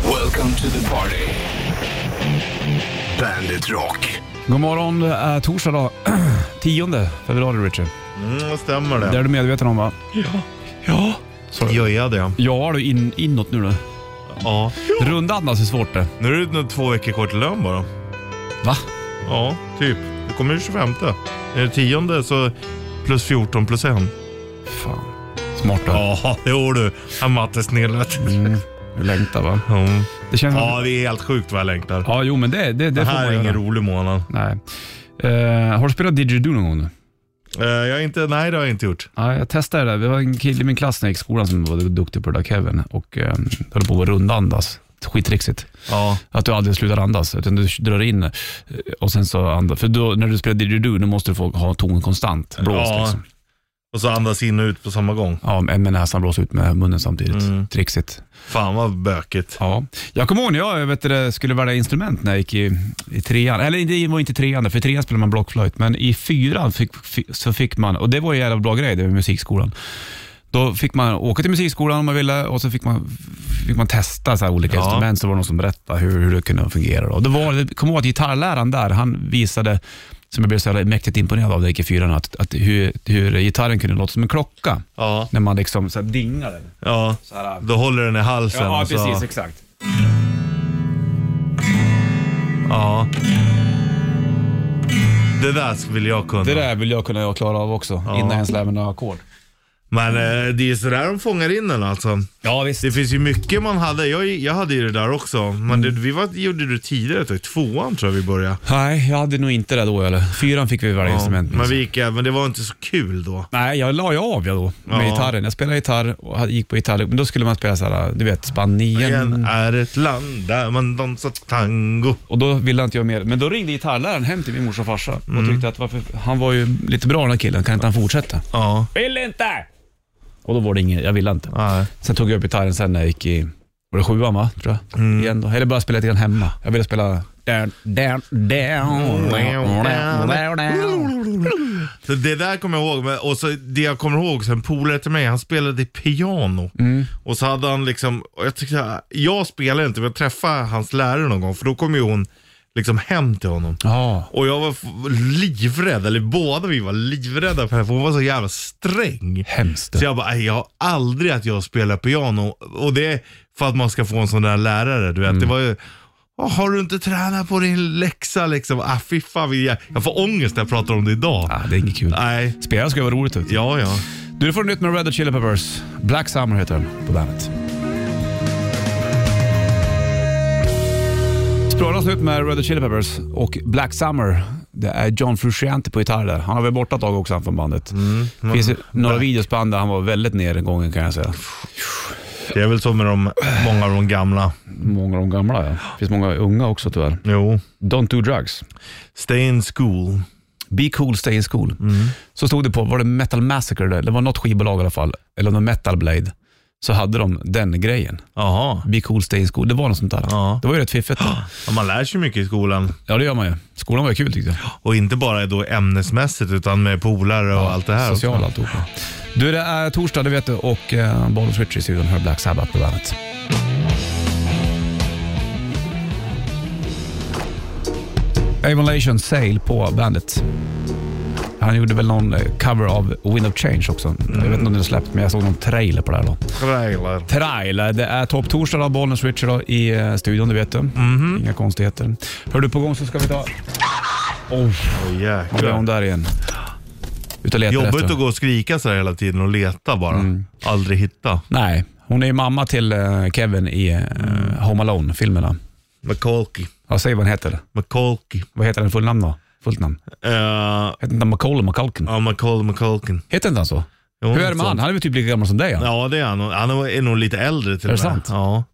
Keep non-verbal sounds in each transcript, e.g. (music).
Welcome to the party. Bandit Rock. God morgon, det är torsdag då. (clears throat) 10 februari Richard. Mm, stämmer Det är det. du medveten om va? Ja. Ja. Så, Göjade jag. ja du, in, inåt nu då. Ja. Runda andas är svårt det. Nu är det nog två veckor kvar till lön bara. Va? Ja, typ. Det kommer ju 25. Är det 10 så plus 14 plus 1. Fan. Smart då. Ja, jo du. Han mattesnillet. Mm. Du längtar va? Mm. Det känns Ja, det är helt sjukt vad jag längtar. ja jo men det, det, det, Det får här man är ingen göra. rolig månad. Nej. Eh, har du spelat didgeridoo någon gång? nu? Eh, jag är inte, nej, det har jag inte gjort. Ja, jag testade det. där. Vi var en kille i min klass när jag gick i skolan som var duktig på det där Kevin och eh, höll på att rundandas. Skitrixigt. Ja. Att du aldrig slutar andas, utan du drar in eh, och sen så andas. För då, när du spelar didgeridoo, då måste du få ha ton konstant. Blås Ja. liksom. Och så andas in och ut på samma gång. Ja, med med näsan blås ut med munnen samtidigt. Mm. Trixigt. Fan vad bökigt. Ja. Jag kommer ihåg när jag vet du, skulle välja instrument när jag gick i, i trean. Eller det var inte trean, för i trean spelade man blockflöjt. Men i fyran fick, fi- så fick man, och det var ju en jävla bra grej, det med musikskolan. Då fick man åka till musikskolan om man ville och så fick man, fick man testa så här olika Ja. instrument. Så var det någon som berättade hur, hur det kunde fungera. Då. Det var, jag kommer ihåg att gitarrläraren där, han visade, som jag blev så jävla mäktigt imponerad av när jag gick i fyran, att, att hur, hur gitarren kunde låta som en klocka. Ja. När man liksom så här dingade. ja. Så här, Då håller den i halsen. Ja, och så- precis. Exakt. Ja. Det där vill jag kunna. Det där vill jag kunna klara av också, innan jag ens lär mig några ackord. Men eh, det är sådär de fångar in den alltså. Ja, visst. Det finns ju mycket man hade. Jag, jag hade ju det där också. Men det, vi var, gjorde det tidigare, ett tag. tvåan tror jag vi började. Nej, jag hade nog inte det då eller. Fyran fick vi välja Ja, instrument. men vi gick även, det var inte så kul då. Nej, jag la ju av jag då med Ja. gitarren. Jag spelade gitarr och hade- gick på gitarr, men då skulle man spela så här, du vet, Igen Spanien. är ett land där man dansar tango. Och då ville inte jag mer. Men då ringde gitarrläraren hem till min morsa och farsa och tyckte att varför, han var ju lite bra den här killen, kan inte han fortsätta? Ja, Vill inte! Och då var det inget, jag ville inte. nej. Sen tog jag upp gitarren sen när jag gick i, var det sjuan va? Tror jag. Igen då. Eller bara spela lite grann hemma. Jag ville spela... (laughs) Så det där kommer jag ihåg. Men- Och så det jag kommer ihåg, sen polare till mig, han spelade piano. Och så hade han liksom, och jag tyckte, så här, jag spelar inte, men jag träffade hans lärare någon gång, för då kom ju hon liksom hem till honom. Ja. Och jag var f- livrädd, eller båda vi var livrädda för henne, för hon var så jävla sträng. Hemskt. Så jag bara, "Nej, jag har aldrig att jag spelar piano. Och det är för att man ska få en sån där lärare, du Mm. vet. Det var ju, "Åh, har du inte tränat på din läxa liksom? Ah, fy fan, vi- jag, jag får ångest när jag pratar om det idag. Ah, det är inget kul. Nej, Spela ska vara roligt. Ut. ja ja. Du du får nytt med Red Hot Chili Peppers. Black Summer heter den på bandet. Språlas nytt med Red Hot Chili Peppers och Black Summer. Det är John Frusciante på gitarr där. Han har varit borta ett tag också han från bandet. Det finns ju några videos på han där han var väldigt nedgången kan jag säga. Det är väl så med de, många av de gamla. Många av de gamla ja. Det finns många unga också tyvärr. Jo. Don't do drugs. Stay in school. Be cool, stay in school. Så stod det på, var det Metal Massacre där? Det var något skivbolag i alla fall, eller någon Metal Blade. Så hade de den grejen. Jaha. Be cool, stay in school. Det var något sånt där. Ja. Det var ju rätt fiffigt. då. Ja, man lär sig mycket i skolan. Ja, det gör man ju. Skolan var ju kul tyckte jag. Och inte bara då ämnesmässigt utan med polare och allt det här. också. Sociala alltihopa. Du, det är torsdag, det vet du, och eh, Bollnäs Ritchie i studion hör Black Sabbath på bandet. Avonlation Sale på bandet. Han gjorde väl någon eh, cover av Wind of Change också. Jag vet inte om den är släppt, men jag såg någon trailer på det här då. Trailer. Trailer. Det är topptorsdag då, Bollnäs Ritchie då, i eh, studion, det vet du. Inga konstigheter. Hör du på gång så ska vi ta... Oh, Åh, nu är hon jäklar. där igen. Ut och letar Jobbigt efter. att gå och skrika så här hela tiden och leta bara. Mm. Aldrig hitta. Nej, hon är ju mamma till eh, Kevin i eh, Home Alone-filmerna. McColky. Ja, säg vad han heter. McColky. Vad heter den full namn då? Fullt namn? Eh, Heter inte han McCollum McCulkin? Ja, McColl McColkin. Heter inte han så? Jo, Hur är det något med han? sånt. Han är väl typ lika gammal som dig? Han. Ja, det är han. Han är nog lite äldre till Är och det med. sant? Ja.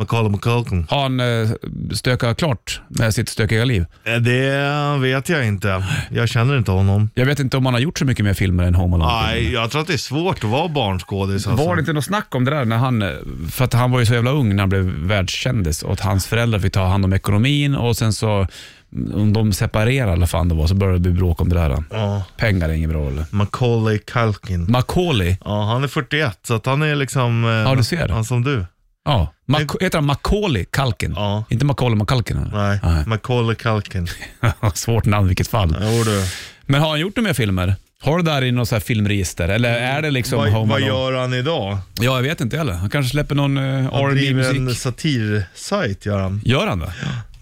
McColl McColkin. Har han eh, stökat klart med sitt stökiga liv? Eh, Det vet jag inte. Jag känner inte honom. Jag vet inte om han har gjort så mycket mer filmer än Home Alone. Nej, jag tror att det är svårt att vara barnskådis. Alltså. Var det inte något snack om det där när han, eh, för att han var ju så jävla ung när han blev världskändis och att hans föräldrar fick ta hand om ekonomin och sen så, mm, om de separerade eller vad fan det var, så började det bli bråk om det där. Ja, Pengar är inget bra eller? Macaulay Culkin. Macaulay, Ja, han är 41, så att han är liksom... eh, Ja, du ser. Han som du. Ja. Mac- heter han Macaulay Kalkin? Ja. Inte Macaulay McCalkin? Nej, Macaulay Culkin. (laughs) Svårt namn i vilket fall. Jo du. Men har han gjort några mer filmer? Har du det där i något så här filmregister? Eller är det liksom Mm. Vad, Home vad Alone? gör han idag? Ja, jag vet inte heller. Han kanske släpper någon uh, Han driver en R&B-musik. satirsajt gör han. Gör han det?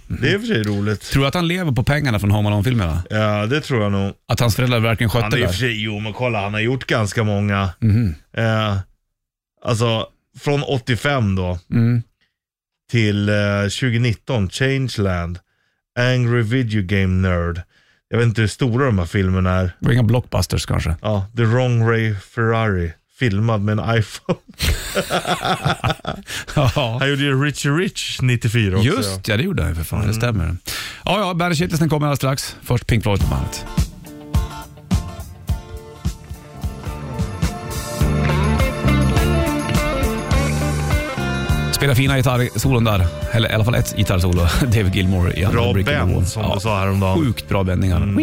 Det är i och för sig roligt. Tror du att han lever på pengarna från Home Alone-filmerna? Ja, det tror jag nog. Att hans föräldrar verkligen Han skötte är i och det? Mhm. för sig, jo men kolla han har gjort ganska många. Eh, alltså från 85 då Mm. till eh, 2019, Changeland, Angry Video Game Nerd. Jag vet inte hur stora de här filmerna är. Det var inga blockbusters (laughs) kanske. Ja, The Wrong Ray Ferrari, filmad med en iPhone. Ja. (laughs) Han gjorde ju Richie Rich 94 också. ja. Mm. Just ja, det gjorde han ju för fan. Det stämmer. Ja, ja, Bandit Shitlisten kommer alldeles strax. Först Pink Floyd på bandet. Spelar fina gitarrsolon där, eller i alla fall ett gitarrsolo. (laughs) David Gilmore i andra Bra Brick in the Wall. band som Ja. du sa häromdagen. Sjukt bra vändningar. Mm.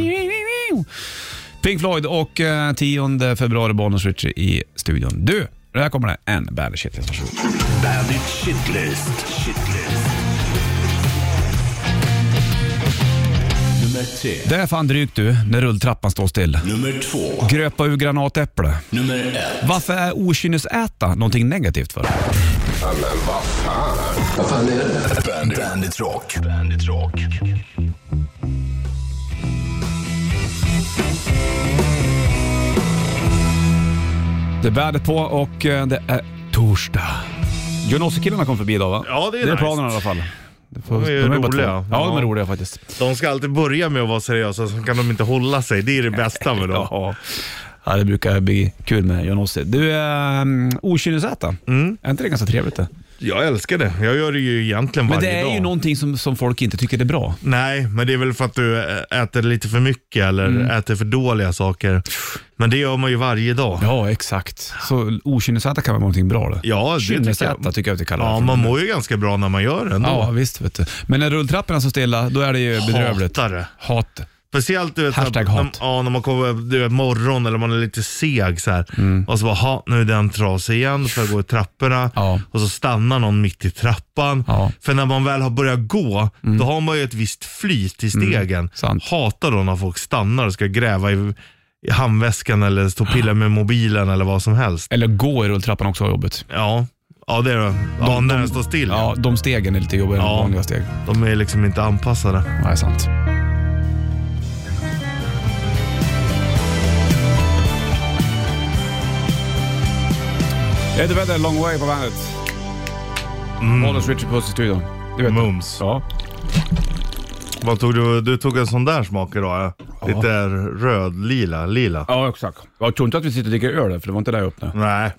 Pink Floyd och eh, 10 februari Bonus Richie i studion. Du, här kommer det en Bandit Shitlist. Varsågod. Bandit Shitlist. Shitlist. Nummer tre. Det är fan drygt du, när rulltrappan står still. Nummer två. Gröpa ur granatäpple. Nummer ett. Varför är okynnesäta någonting negativt för? Bandit, Bandit Rock. Bandit Rock. Det är vädret på och eh, det är torsdag. Gunnossi-killarna kom förbi idag va? Ja, det är Det är nice. planen i alla fall. Det får- De är ju bara två. roliga. Ja, de är Ja. roliga faktiskt. De ska alltid börja med att vara seriösa, så kan de inte hålla sig. Det är det bästa (laughs) med dem. Ja. ja, det brukar bli kul med Gunnossi. Du, eh, okynnesäta. Mm. Är inte det ganska trevligt det? Jag älskar det. Jag gör det ju egentligen Men varje det är dag. ju någonting som, som folk inte tycker är bra. Nej, men det är väl för att du ä- äter lite för mycket eller Mm. äter för dåliga saker. Men det gör man ju varje dag. Ja, Ja, exakt. Så okynnesäta kan vara någonting bra det. Ja, det tycker jag. Kynnesäta tycker jag att det kallas. för. man mår ju ganska bra när man gör det ändå. Ja, visst. Vet du. Men när rulltrapporna står stilla, då är det ju bedrövligt. Hatar det. Hat. Speciellt du vet, Hashtag när, hat. ja, när man kommer upp du vet, morgon eller man är lite seg så här. Mm. Och så bara, ha, nu är den trasig igen för jag går i trapporna. Ja. Och så stannar någon mitt i trappan. Ja. Mm. För när man väl har börjat gå, då har man ju ett visst flyt i stegen. sant. Hatar då när folk stannar och ska gräva i, i handväskan eller stå och pilla med mobilen eller vad som helst. Eller gå i rulltrappan också har jobbigt. Ja, ja det är det. Ja, när den står still. Ja, de stegen är lite jobbigare än Ja. vanliga steg. De är liksom inte anpassade. Ja, det är sant. Eddie Vedder, Long Way på bandet. Mm. Bollers Richard Puss i studion. Du vet Mums. Ja. Vad tog du? Du tog en sån där smak idag ja. Ja. Lite röd, lila, lila. ja, exakt. Jag tror inte att vi sitter och dricker öl för det var inte där jag öppnade. Nej,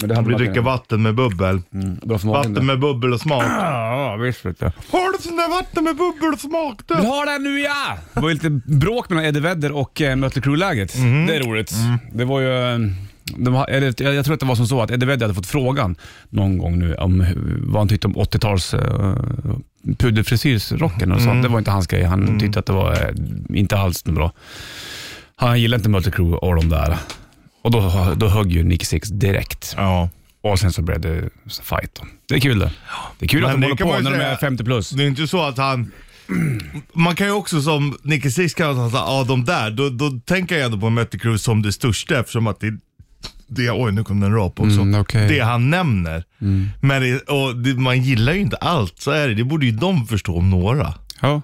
Men det hade vi varit- dricker vatten med bubbel. Bra för magen. Vatten det. med bubbel och smak. (clears throat) Ja, visst vet jag. Har du sån där vatten med bubbel och smak Vill du? ha den nu ja! Det var ju lite bråk mellan Eddie Vedder och eh, Mötley Crüe-läget. Mhm. Det är roligt. Mm. Det var ju... eh, De, ha- eller, jag, jag tror att det var som så att Eddie Vedder hade fått frågan någon gång nu om hur- vad han tyckte om 80-tals eh, pudelfrisyrsrocken och sånt. Mm. Det var inte hans grej. Han tyckte att det var eh, inte alls något bra. Han gillade inte Mötley Crüe och de där. Och då, då högg ju Nick Six direkt. Ja. Och sen så blev det fight. Då. Det är kul det. Det är kul Men att de det håller kan man på ju när de säga- är 50 plus. Det är inte så (clears throat) att han... Man kan ju också som Nicky Six kan säga, ja de där, då, då tänker jag ändå på Mötley Crüe som det största eftersom att det, det oj nu kom den rap också. Mm, okej. Det han nämner. Men det, och det, man gillar ju inte allt, så är det. Det borde ju de förstå om några. Ja.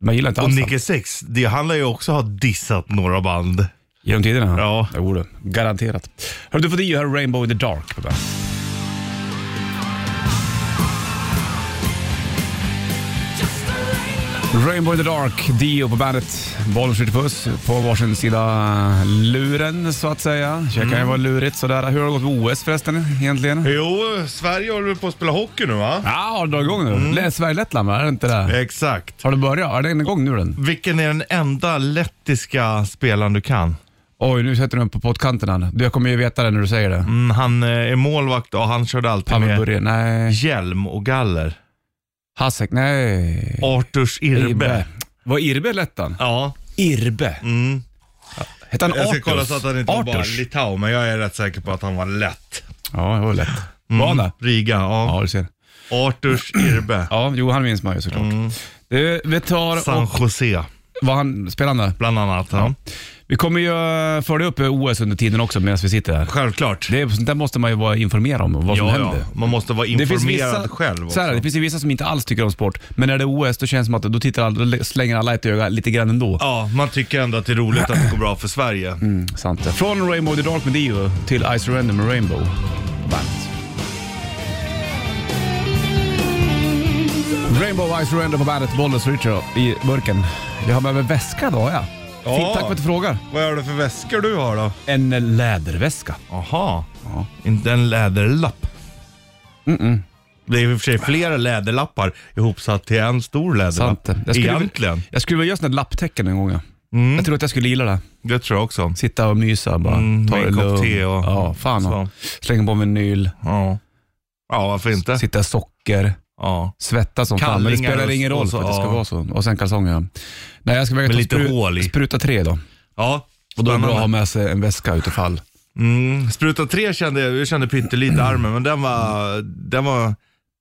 Man gillar inte Och alls det. Nicky Six, det handlar ju också om att ha dissat några band. Genom tiderna? Ja. Jo du, garanterat. Hörru, du får det här Rainbow in the Dark på bandet. Rainbow in the Dark, Dio på bandet. Bollen skjuter puss på varsin sida luren så att säga. Det kan ju vara lurigt sådär. Hur har det gått med OS förresten egentligen? Jo, Sverige håller på att spela hockey nu va? Ja, har det dragit igång nu? Mm. Sverige-Lettland va? Är det inte det? Exakt. Har det börjat? Är den igång nu den? Vilken är den enda lettiska spelaren du kan? Oj, nu sätter du den på poddkanten här. Du, jag kommer ju veta det när du säger det. Mm, han eh, är målvakt och han körde alltid Pavel med Bure, nej. hjälm och galler. Hasek, nej. Arturs Irbe. Var Irbe Lettan? Ja. Irbe? Mm. Hette han Jag ska Artus? kolla så att han inte var bara Artus? Litau, men jag är rätt säker på att han var lätt. Ja, det var lätt. Var han det? Mm. Riga, ja. Ja, du ser. Arturs Irbe. Ja, jo, han minns man ju såklart. Mm. Du, vi tar och... San Jose, Vad han spelande? bland annat. Ja. Vi kommer ju eh, följa upp OS under tiden också medan vi sitter här. Självklart. Det, är- sånt där måste man ju vara informerad om, vad som ja, händer. ja. Man måste vara Det informerad finns, vissa, själv så också. här, det finns ju vissa som inte alls tycker om sport, men när det är OS då känns det som att då tittar alla, då slänger alla ett öga lite grann ändå. Ja, man tycker ändå att det är roligt att det går bra för Sverige. Sant det. Från Rainbow the Dark med Dio till I Surrender med Rainbow. Bandet. Rainbow I Surrender på bandet, Bollnäs Richard i burken. Jag har med mig väska idag ja. Ja. Fint, tack för att du frågar. Vad är det för väskor du har då? En läderväska. Aha. Inte en läderlapp. Det är i och för sig flera läderlappar ihopsatt till en stor Sant läderlapp. det. Jag skulle, Egentligen. Mm. Jag skulle vilja göra sådana lapptäcken en gång ja. Jag tror att jag skulle gilla det. Det tror jag också. Sitta och mysa bara. Mm, med en kopp lugnt. te och- Ja, fan ja. Slänga på vinyl, Ja. Ja, varför inte? sitta i socker, Ja. svettas som fan. Men det Kallingar spelar och- ingen roll och så, för att det ska ja. vara så. Och sen kalsonger ja. Nej, jag ska väga Med ta lite hål i. Spruta tre då. Ja. Och då är det bra att ha Spännande. med sig en väska utifall. Mm. Spruta 3 kände jag, jag kände (clears throat) pyttelite armen, men den var, den var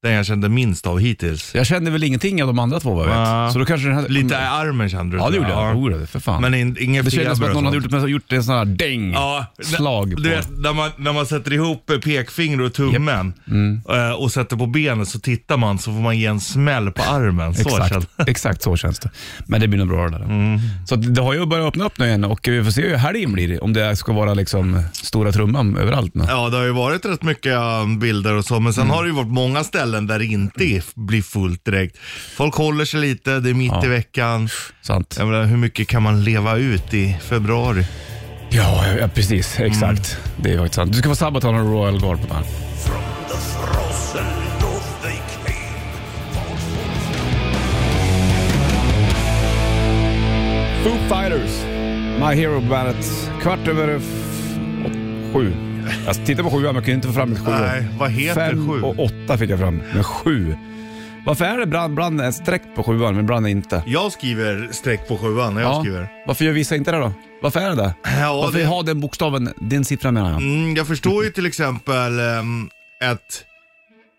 den jag kände minst av hittills. Jag kände väl ingenting av de andra två vad jag vet. Ja. Så då kanske den här... Lite i armen kände du? Mm. Ja, det tror gjorde jag. Jo, det för fan. Men in, ingen det kändes som feber att och någon hade sånt. gjort, gjort en sån här däng. Ja, na- slag på. Du vet, när man, när man sätter ihop eh, pekfinger och tummen Mm. eh, och sätter på benet så tittar man så får man ge en smäll på armen. Så känns- Mm. Exakt, (laughs) exakt så känns det. Men det blir nog bra det där. Så att det har ju börjat öppna upp nu igen och vi får se hur helgen blir. det, Om det ska vara liksom stora trumman överallt nu. Ja, det har ju varit rätt mycket eh, bilder och så, men Mm. sen har det ju varit många ställen där det inte är- blir fullt direkt. Folk håller sig lite, det är mitt i veckan. Sant? Jag menar, hur mycket kan man leva ut i februari? Ja, ja precis. Exakt. Det är faktiskt sant. Du ska få Sabaton och Royal Guard på bandet. Foo Fighters, My Hero på bandet. Kvart över f- åt- sju. Jag tittade på sjuan men jag kunde inte få fram ett sju. Nej, vad heter Fem sju? och åtta fick jag fram, men sju. Varför är det bland, bland ett streck på sjuan, men bland inte? Jag skriver streck på sjuan när jag skriver. Varför gör vissa inte det då? Varför är det det? Ja, Varför det- har den bokstaven, den siffran menar jag. Mm, jag förstår ju till exempel um, ett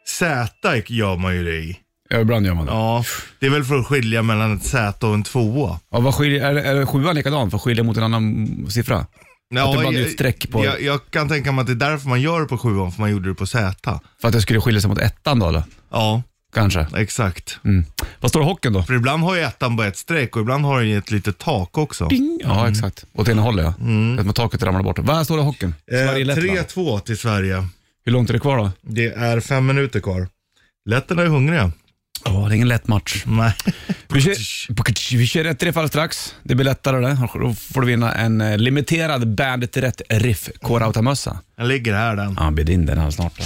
Z gör man ju det i. Ja, ibland gör man det. Ja. Mm. Ja, det är väl för att skilja mellan ett Z och en tvåa. vad skiljer, är, är sjuan likadan för att skilja mot en annan siffra? Ja, det bara blir jag- ett streck på- Jag, jag kan tänka mig att det är därför man gör det på sjuan, för man gjorde det på Z. För att det skulle skilja sig mot ettan då eller? Ja, Kanske. exakt. Mm. Vad står det i hockeyn då? För ibland har ju ettan bara ett streck och ibland har den ju ett litet tak också. Ja, exakt. Åt ena hållet ja. Mm. Att taket ramlar bort. Vad står det i hockeyn? Sverige, Eh, Lettland. 3-2 till Sverige. Hur långt är det kvar då? Det är fem minuter kvar. Letterna är hungriga. Ja, det är ingen lätt match. Nej. Vi kör, vi kör ett riff alldeles strax. Det blir lättare det. Då får du vinna en eh, limiterad Bandet Rätt Riff K-Rauta-mössa. Den ligger här den. Ja, han bjöd in den här snart.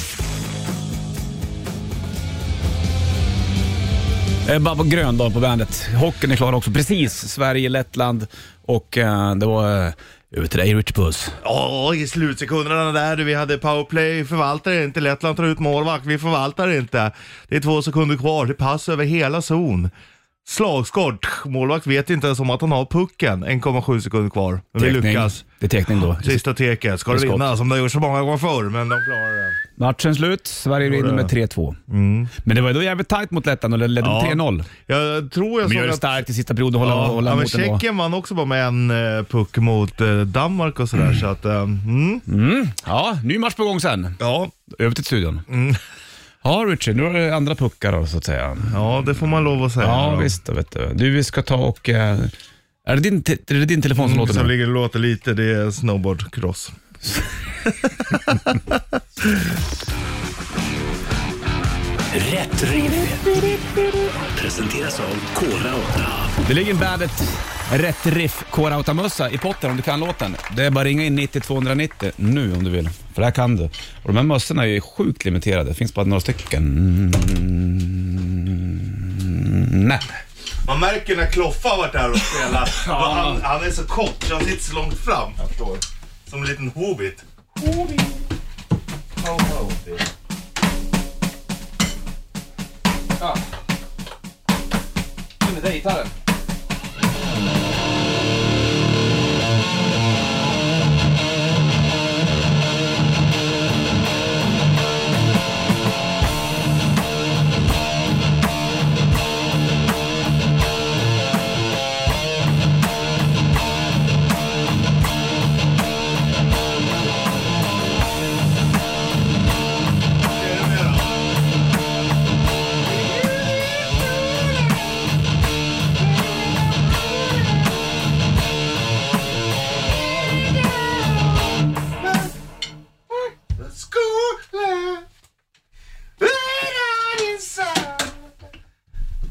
Eh, Babbo Gröndahl på bandet. Hockeyn är klar också. Precis. Sverige, Lettland och eh, det var eh, över till dig Richard Puss. Ja, i slutsekunderna där vi hade powerplay, förvaltar det inte, Lettland tar ut målvakt, vi förvaltar det inte. Det är två sekunder kvar, det är pass över hela zon. Slagskott, målvakt vet inte ens om att han har pucken, 1,7 sekunder kvar. Men vi Teckning. lyckas. Det är teckning då. Sista teket, ska det skott. vinna som det har gjort så många gånger förr, men de klarar det. Matchen slut. Sverige vinner med 3-2. Men det var ju då jävligt tajt mot Lettland och det ledde med Mm. Ja. 3-0. Jag tror jag Men gör såg det att... starkt i sista perioden och hålla, Ja, hålla ja, men mot ändå. Tjeckien vann också bara med en eh, puck mot eh, Danmark och sådär, så att... eh, mm. Ja, ny match på gång sen. Ja, Över till studion. Mm. Ja Richard, nu har du andra puckar då så att säga. ja, det får man lov att säga. Ja, då. visst då, vet du. Du, vi ska ta och... eh, Är det din, te- är det din telefon som låter Som nu? ligger och låter lite, det är snowboardcross. Rätt riff. Presenteras av Kora 8. Det ligger en Bandet Rätt Riff K-Rauta-mössa i potten om du kan låten. Det är bara att ringa in 90 290 nu om du vill. För det här kan du. Och de här mössorna är ju sjukt limiterade. Det finns bara några stycken. Mm, Nej. Man märker när Kloffa har varit här och (laughs) spelat. han, han är så kort så han sitter så långt fram. Jag förstår. Som en liten hobbit. Hobbit. Med dig gitarren.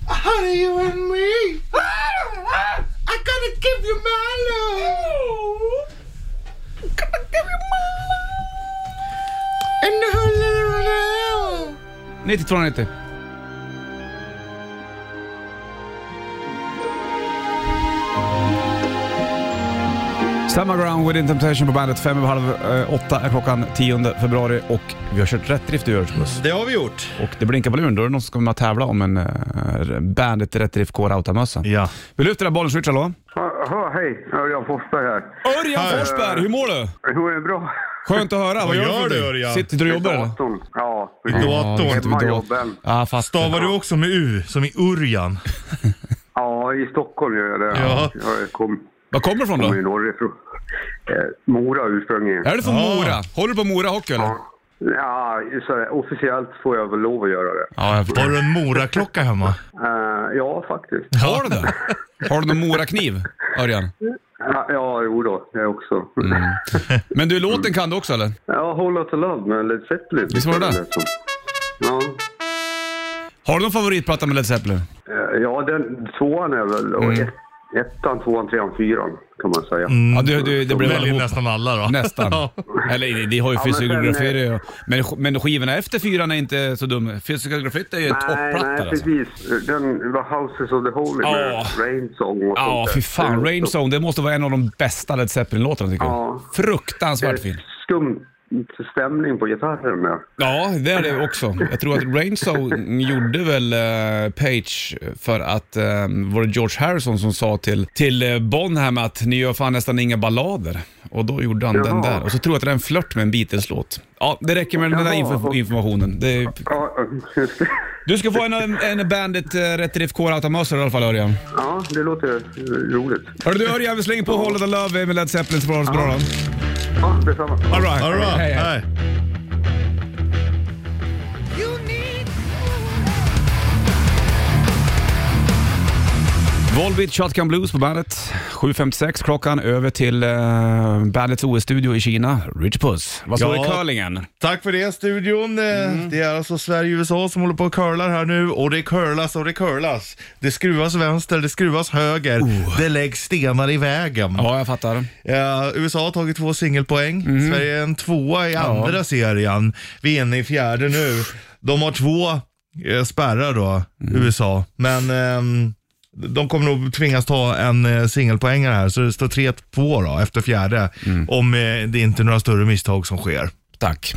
What are you and me? I gotta give you my love. Gotta give you my love. And the whole little 9290. Summer Ground Within Temptation på bandet. Fem över halv eh, åtta är klockan 10 februari och vi har kört rätt drift i Örnsköldsvik. Det har vi gjort. Och det blinkar på luren. Då är det någon som kommer att tävla om en uh, Bandet Rätt Drift K-Rauta-mössa. Ja. Vi lyfter den här bollen, switch, hallå? Ja, ja, hej, Örjan Forsberg här. Örjan Forsberg, hur mår du? Jo, det är bra. Skönt att höra. Vad, gör för du, någonting? Örjan? Sitter du och jobbar eller? Datorn. Ja, Ja. precis. datorn. Ja, Hemma vid jobben. Ja, fast Stavar du också med U, som i Urjan? ja, i Stockholm gör jag det. Ja. Jag kom, Var kommer du ifrån kommer ju då? norrifrån. Eh, Mora ursprungligen. Är du från Ja. Mora? Håller du på Mora Hockey eller? Ja, så här, officiellt får jag väl lov att göra det. Ja, jag förstår. Har du en Moraklocka hemma? Eh, ja, faktiskt. Har du det? Har du någon Morakniv, Örjan? Ja, ja jo då, jag också. Men du, låten kan du också eller? (laughs) Ja, Whole Lotta Love med Led Zeppelin. Visst var det det? lät som. Ja, Har du någon favoritplatta med Led Zeppelin? Eh, ja den, tvåan är väl... Och ett, ettan, tvåan, trean, fyran kan man säga. Ja, du, du, det blir väl Väljer ihop. nästan alla då. Nästan. Ja. Eller det har ju Ja, men eh, fysiografier och... Men, sk- men skivorna efter fyran är inte så dum. Fysiografit är ju en Nej, topplatta nej alltså. precis. Den var Houses of the Holy med Ja. Rain Song och Ja, sånt där. fy fan. Det är Rain så- Zone, det måste vara en av de bästa Led Zeppelin-låtarna tycker jag. Ja. Fruktansvärt det är fin. Skum stämning på gitarren där. Ja, det är det också. Jag tror att Rainsone gjorde väl eh, Page för att eh, var det George Harrison som sa till, till eh, Bonham att ni gör fan nästan inga ballader. Och då gjorde han den Jaha. där. Och så tror jag att det är en flört med en Beatles-låt. Ja, det räcker med den där Jaha. info- informationen. Det är... Ja, (laughs) just det. Du ska få en, en Bandit eh, Rätt Riff K-Rauta-mössa i alla fall Örjan. ja, det låter eh, roligt. Hörru du Örjan, vi slänger på Hold of the Love med Led Zeppelin så bra, så bra då. Ja, detsamma. All right. All right. Hej, hej. Hej. Volbeat Shotgun Blues på bandet. 7.56 klockan, över till eh, bandets OS-studio i Kina, Rich Puss. Vad står det i Ja. curlingen? Tack för det studion. Eh, Mm. Det är alltså Sverige och USA som håller på och curlar här nu och det curlas och det curlas. Det skruvas vänster, det skruvas höger, Oh. det läggs stenar i vägen. Ja, jag fattar. Eh, USA har tagit två singelpoäng, Mhm. Sverige är en tvåa i andra serien. Vi är inne i fjärde nu. De har två eh, spärrar då, Mm. USA. Men ehm, de kommer nog tvingas ta en eh, singelpoängare här, så det står 3-2 då efter fjärde. Mm. Om eh, det inte är några större misstag som sker. Tack.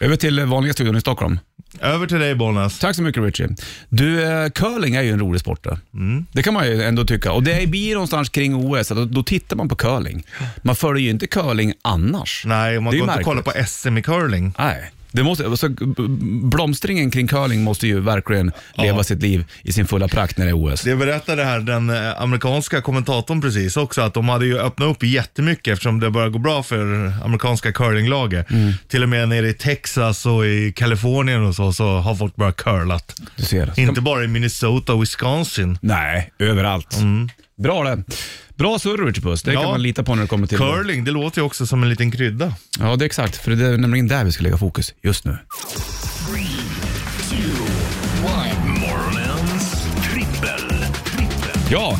Över till eh, vanliga studion i Stockholm. Över till dig Bollnäs. Tack så mycket Richie. Du, eh, curling är ju en rolig sport. Då. Mm. Det kan man ju ändå tycka. Och det blir någonstans kring OS, då, då tittar man på curling. Man följer ju inte curling annars. Nej, man Det är går inte och märkligt. kollar på SM i curling. Nej. Det måste, alltså, b- blomstringen kring curling måste ju verkligen leva sitt liv i sin fulla prakt när det är OS. Det berättade här den eh, amerikanska kommentatorn precis också att de hade ju öppnat upp jättemycket eftersom det börjar gå bra för amerikanska curlinglaget. Mm. Till och med nere i Texas och i Kalifornien och så, så har folk börjat curlat. Du ser. Inte bara i Minnesota och Wisconsin. Nej, överallt. Bra det. Bra surr Richard Puss, det kan Mm. Ja. man lita på när det kommer till... Curling, det låter ju också som en liten krydda. Ja, det är exakt. För det är nämligen där vi ska lägga fokus just nu. Morgonens trippel. Ja!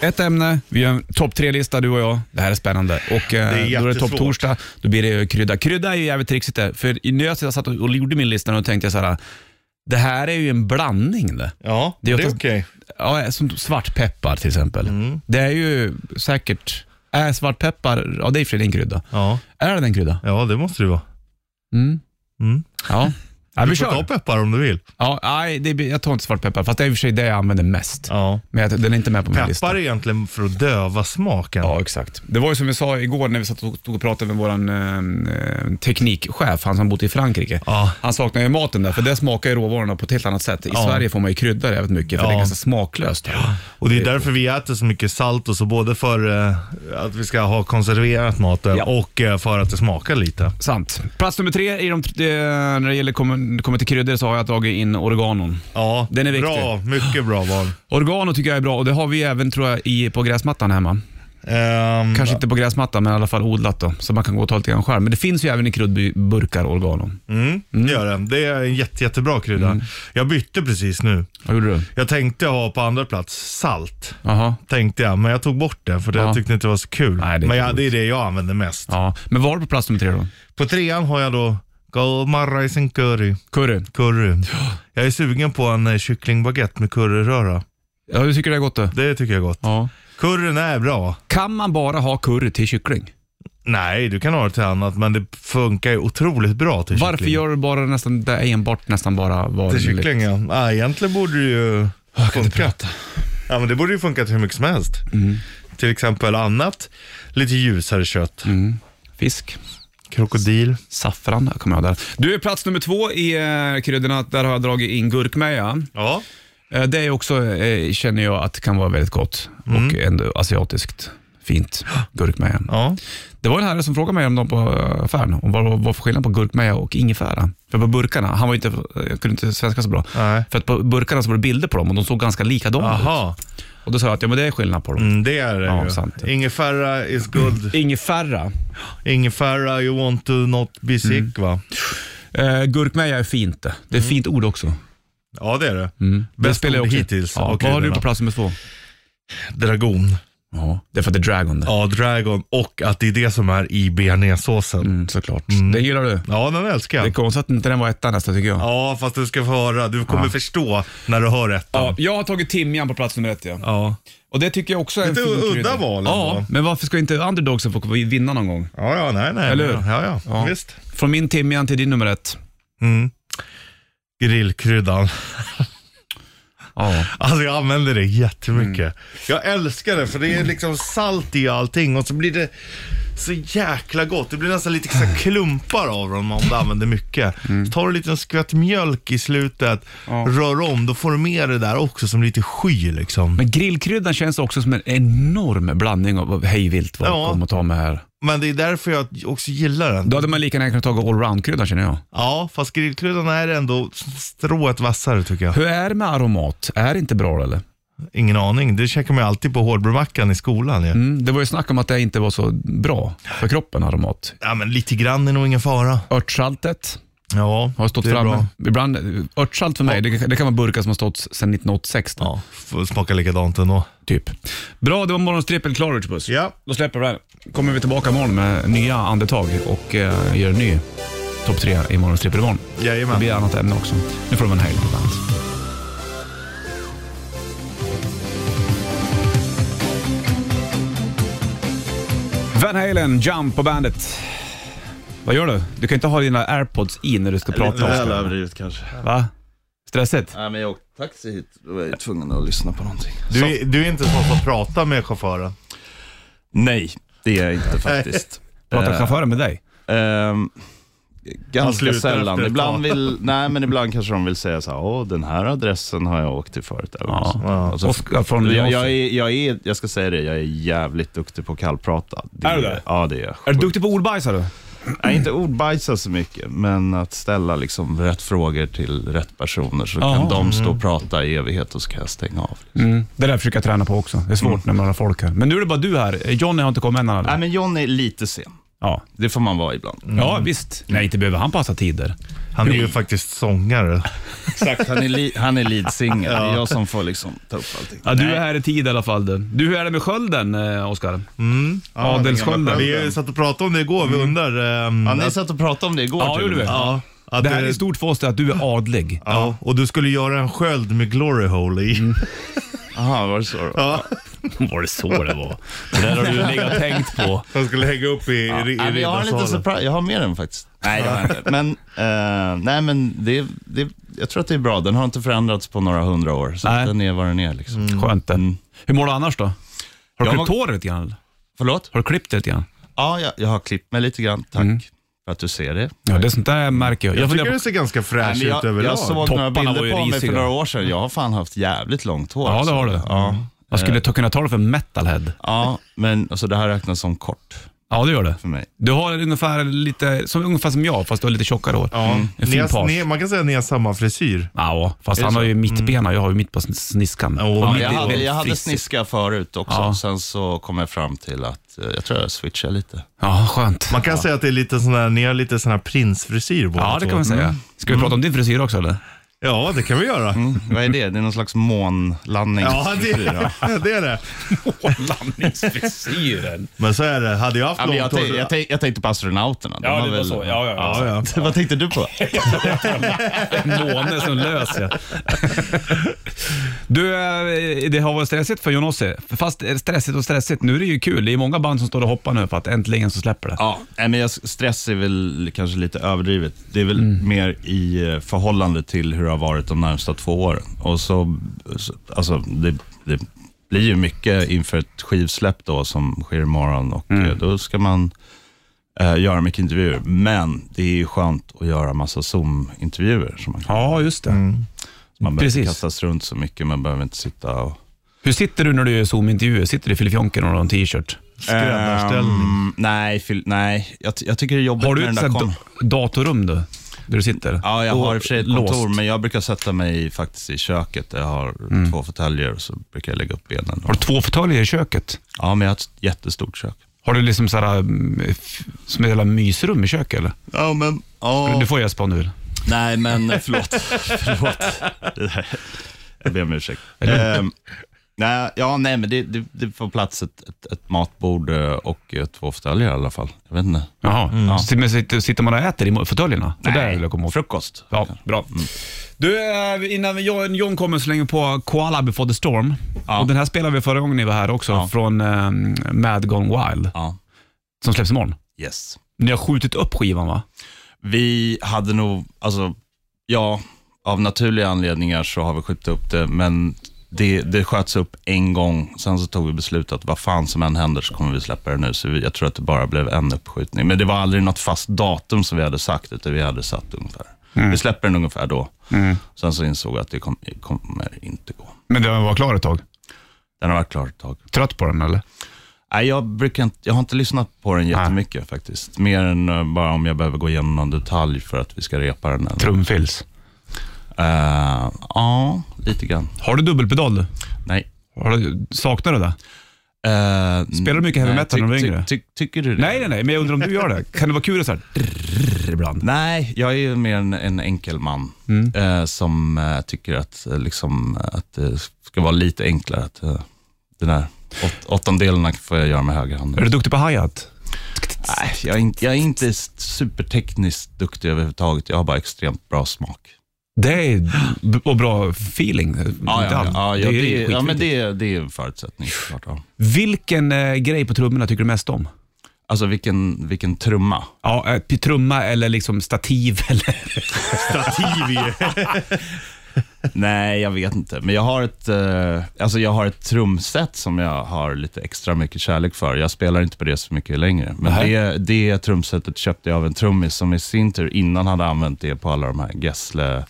Ett ämne, vi gör en topp tre-lista du och jag. Det här är spännande. Och eh, Det är då är det jättesvårt. topp torsdag, då blir det ju krydda. Krydda är ju jävligt trixigt det. För i- när jag satt och och gjorde min lista då tänkte jag så här, det här är ju en blandning det. Ja, Det det är är, oftast- okej. Ja, som svartpeppar till exempel. Mm. Det är ju säkert, är svartpeppar, ja det är i och för sig en krydda. Ja. Är det en krydda? ja, det måste det vara. Mm. Mm. Ja. ja vi Du får ta kör. peppar om du vill. Ja, nej, det, blir- jag tar inte svartpeppar, fast det är i och för sig det jag använder mest. Ja. Men jag, den är inte med på min lista. Peppar är egentligen för att döva smaken. Ja, exakt. Det var ju som vi sa igår när vi satt och tog och pratade med vår eh, teknikchef, han som bott i Frankrike. Ja. Han saknar ju maten där, för där smakar ju råvarorna på ett helt annat sätt. I Ja. Sverige får man ju krydda jävligt mycket, för Ja. det är ganska smaklöst. Ja. Och det är därför vi äter så mycket salt och så, både för eh, att vi ska ha konserverat maten Ja. och eh, för att det smakar lite. Sant. Plats nummer tre, i de, eh, när det gäller kommer, kommer till kryddor så har jag tagit in oreganon. Ja, Den är viktig. Bra, mycket bra val. Oregano tycker jag är bra och det har vi även tror jag i, på gräsmattan hemma. Ehm, Kanske inte på gräsmattan, men i alla fall odlat då. Så man kan gå och ta lite grann själv. Men det finns ju även i kryddburkar och organon. Mm, det gör den. Det är en jätte, jättebra krydda. Mm. Jag bytte precis nu. Vad gjorde du? Jag tänkte ha på andra plats salt. Jaha. Tänkte jag, men jag tog bort det för det Ja. jag tyckte inte det var så kul. Nej, det är men jag, roligt. det är det jag använder mest. Ja. Men var det på plats nummer tre då? På trean har jag då Golma Rising Curry. Curry. curry. Jag är sugen på en eh, kycklingbaguette med curryröra. Ja, du tycker det är gott du? Det tycker jag är gott. Ja. Curryn är bra. Kan man bara ha curry till kyckling? Nej, du kan ha det till annat, men det funkar ju otroligt bra till Varför kyckling. gör du bara nästan det enbart nästan bara vanligt? Till kyckling, ja. Ah, egentligen borde det ju funka. Ja, men det borde ju funka till hur mycket som helst. Mm. Till exempel annat, lite ljusare kött. Mm. Fisk. Krokodil. Saffran, där kommer jag där. Du är plats nummer två i eh, kryddorna. Där har jag dragit in gurkmeja. Ja. Eh, Det är också, eh, känner jag, att kan vara väldigt gott och ändå asiatiskt fint. Gurkmeja. ja. Det var en herre som frågade mig om dem på eh, affären, om vad vad var för skillnad på gurkmeja och ingefära. För på burkarna, han var ju inte, jag kunde inte svenska så bra. Nej. För att på burkarna så var det bilder på dem och de såg ganska likadana ut. Aha. Och då sa jag att ja, men det är skillnad på dem. Mm, det är det Ja, ju. sant. Ingefära is good. Ingefära. Ingefära you want to not be sick Mm. va? Eh, gurkmeja är fint det. Det är ett fint ord också. Ja det är det. det Bäst Mm. spelar jag ord också. hittills. Ja. Okej, vad har du Lena. på plats nummer två? Dragon. Ja, det är för att det är dragon det. Ja, dragon och att det är det som är i bearnaisesåsen. Mm, såklart. Det gillar du. Ja, den älskar Det är jag. konstigt att inte den var etta nästa tycker jag. Ja, fast du ska få höra. Du kommer förstå när du hör rätt. Ja, jag har tagit timjan på plats nummer ett ja. Ja. Och det tycker jag också är en Lite fin udda krydda. val Ja, ändå. men varför ska inte underdogsen få vinna någon gång? Ja, ja, nej, nej. Eller hur? nej. Ja, ja, Ja. visst. Från min timjan till din nummer ett. Mm. Grillkryddan. Ja. Alltså jag använder det jättemycket. Jag älskar det för det är liksom salt i allting och så blir det så jäkla gott. Det blir nästan lite så (laughs) här klumpar av dem om du använder mycket. Så tar du en liten skvätt mjölk i slutet, rör om, då får du med det där också som lite sky liksom. Men grillkryddan känns också som en enorm blandning av hejvilt vad Ja. jag kom och ta med här. Men det är därför jag också gillar den. Då hade man lika gärna kunnat ta allround-kryddan känner jag. Ja, fast grillkryddan är ändå strået vassare tycker jag. Hur är det med aromat? Är det inte bra eller? Ingen aning, det käkar man ju alltid på hårdbrödmackan i skolan ju. Mm, det var ju snack om att det inte var så bra för kroppen, aromat. Ja men lite grann är nog ingen fara. Örtsaltet Ja, har stått det är framme. bra. Ibland, örtsalt för mig, det, det kan vara burkar som har stått sedan 1986. då, Ja, f- smakar likadant ändå. Typ. Bra, det var morgons trippel klar Ritchbuss. Ja. Då släpper vi den. kommer vi tillbaka imorgon med nya andetag och eh, gör en ny topp tre i morgons trippel imorgon. Det Jajamän. blir annat ämne också. Nu får de en Hail på bandet. Van Halen, Jump på bandet. Vad gör du? Du kan inte ha dina airpods i när du ska prata. Lite väl Oskar. överdrivet kanske. Va? Stressigt? Nej men jag åkte taxi hit, då var jag ju tvungen att lyssna på någonting. Du, är- du är inte sån som pratar med chauffören. Nej, det är jag inte faktiskt. Pratar Eh, chauffören med dig? ehm, ganska slutar efter sällan. ett Ibland, tag. vill, nej, men ibland kanske de vill säga så här, Åh, den här adressen har jag åkt till förut. Eller något sånt. Alltså, Oskar från jag, jag, Är är, jag, är, jag ska säga det, jag är jävligt duktig på att kallprata. Det, Är du det? Ja, det är jag. du duktig på ordbajs är du? Nej, inte ordbajsa så mycket, men att ställa liksom rätt frågor till rätt personer så Jaha. kan de stå och prata i evighet och så kan jag stänga av. Det där försöker jag träna på också. Det är svårt när man har folk här. Men nu är det bara du här. Johnny har inte kommit än. han. Mm. Nej, Mm. men John är lite sen. Ja. Det får man vara ibland. ja, visst. Nej, inte behöver han passa tider. Han är ju faktiskt sångare. Exakt, han är, li- han är lead singer. Det är jag som får liksom ta upp allting. Ja, du Nej. är här i tid i alla fall. Du, du hur är det med skölden, eh, Oskar? Ja, Adelskölden. den gamla Vi satt och pratade om det igår, vi undrar. ehm, Ja, ni att, satt och pratade om det igår. Ja, till gjorde och med. vi. ja, att Det här det- är stort för oss, det att du är adlig. Ja, och du skulle göra en sköld med glory hole i. Jaha, var det så då? Ja, Var det så det var? Det där har du legat och tänkt på. (laughs) han skulle hänga upp i, ja. i, i Ja, men jag har en liten riddarsalen. surprise. Jag har med den faktiskt. Nej, det har jag inte. Men, eh, nej, men det, det, jag tror att det är bra. Den har inte förändrats på några hundra år. Så Nej. den är vad den är. (laughs) Liksom. Skönt det. Mm. Hur mår du annars då? Har du Jag klippt håret lite grann? Förlåt? Har du klippt det lite grann? Ja, jag, jag har klippt mig lite grann. Tack Mm. för att du ser det. Ja, det är sånt där märker jag. Jag, Jag funderar tycker på... det ser ganska Nej, fräsch men ut jag, överlag. jag såg Topparna några var ju bilder på mig för risiga. några år sedan. Jag har fan haft jävligt långt hår. alltså. Ja, det har så. du. Ja, Jag skulle t- kunna ta det för metalhead. ja men alltså, det här räknas som kort. Ja, det gör det. för mig. Du har ungefär lite, som, ungefär som jag, fast du har lite tjockare hår. Ja. Mm, En Ni fin har, page. ni, man kan säga att ni har samma frisyr. Ja, fast Är det han har så? ju mittbena. Jag har ju mitt på sn- sniskan. Ja, Och mitt jag Mm. Jag är hade, väldigt jag hade frissigt. sniska förut också. Ja. Sen så kom jag fram till att eh, jag tror jag switchar lite. Ja, skönt. Man kan säga att det är lite sån här, ni har lite sån här prinsfrisyr båda Ja, det två. Mm. kan man säga. Ska vi prata om din frisyr också (laughs) eller? Ja, det kan vi göra. Mm. Vad är det? Det är någon slags månlandning. Ja, det, (laughs) det är det. (laughs) Landningsfrisyren. Men så är det. Hade jag haft Ja, men jag, långt hår... tänk, jag, tänk, jag tänkte på astronauterna. De har väl- Ja, ja. Vad tänkte (laughs) du på? Måne som lös ja. (laughs) Du, eh, det har varit stressigt för Jonossi. Fast stressigt och stressigt, nu är det ju kul. Det är många band som står och hoppar nu för att äntligen så släpper det. Ja, nej, men jag, stress är väl kanske lite överdrivet. Det är väl mer i eh, förhållande till hur det har varit de närmsta två åren. Och så, så- alltså, det, det blir ju mycket inför ett skivsläpp då som sker imorgon och eh, då ska man eh, göra mycket intervjuer. Men det är ju skönt att göra massa Zoom-intervjuer. Så man, kan, Ja, just det. Mm. man behöver inte precis. kastas runt så mycket, man behöver inte sitta och Hur sitter du när du gör Zoom-intervjuer? Sitter du i filifjonken och har en t-shirt? Skräddarställning. Ehm, nej, fil- nej. Jag, ty- jag tycker det är jobbigt Har du med ett den där sånt kom- da- datorrum då? Där du sitter? Ja, jag Och har i och för sig ett kontor, låst. Mm. men jag brukar sätta mig i- faktiskt i köket. Jag har två fåtöljer och så brukar jag lägga upp benen. Har du två fåtöljer i köket? Ja, men jag har ett jättestort kök. Har du liksom såhär, mm, f- som ett jävla mysrum i köket eller? Ja, men... Du får gäspa om du vill. Nej, men eh, (laughs) förlåt. förlåt. Det där- Jag ber om ursäkt. Ehm, nej, ja, nej, men det, det, det får plats ett, ett, ett matbord eh, och eh, två fåtöljer i alla fall. Jag vet inte. Jaha, Så- men sitter, sitter man och äter i fåtöljerna? Det där vill jag komma åt. frukost. Ja, bra. Mm. Du, eh, innan vi- John, John kommer så länge på Koala before the storm. Ja. Och den här spelade vi förra gången ni var här också, Ja. från eh, Mad Gone Wild, Ja, som släpps imorgon. yes. Ni har skjutit upp skivan va? Vi hade nog, alltså, ja, av naturliga anledningar så har vi skjutit upp det, men det, det sköts upp en gång. Sen så tog vi beslutet att vad fan som än händer så kommer vi släppa det nu. Så vi, jag tror att det bara blev en uppskjutning. Men det var aldrig något fast datum som vi hade sagt, utan vi hade satt ungefär. Vi släpper den ungefär då. Sen så insåg jag att det kom, kommer inte gå. Men den var klar ett tag. Den har varit klar ett tag. Trött på den eller? Nej, jag, brukar inte, jag har inte lyssnat på den jättemycket faktiskt. Mer än eh, bara om jag behöver gå igenom någon detalj för att vi ska repa den. eller- Trumfills. Eh, ja, lite grann. Har du dubbelpedal du? Nej. Har du, saknar du det? Uh, Spelar du mycket heavy metal när du var yngre? tycker du det? Nej, nej, nej, men jag undrar om du gör det. Kan det vara kul att såhär ibland? Nej, jag är ju mer en, en enkel man Mm. eh, som eh, tycker att, eh, liksom, att det ska vara lite enklare. Att, eh, den där åt, åttondelarna får jag göra med höger hand. Är du duktig på hi-hat? Nej, jag är, inte, jag är inte s- supertekniskt duktig överhuvudtaget. Jag har bara extremt bra smak. Det är b- och bra feeling. Ja, Inte ja, allt. ja, det ja, är det, skitviktigt. ja men det, det är en förutsättning såklart. Ja. Vilken eh, grej på trummorna tycker du mest om? Alltså vilken, vilken trumma. Ja, eh, p- trumma eller liksom stativ (laughs) eller... Stativ i. Nej, jag vet inte. Men jag har ett, eh, alltså jag har ett trumset som jag har lite extra mycket kärlek för. Jag spelar inte på det så mycket längre. Men Nej. det, det trumsetet köpte jag av en trummis som i sin tur innan hade använt det på alla de här Gessle,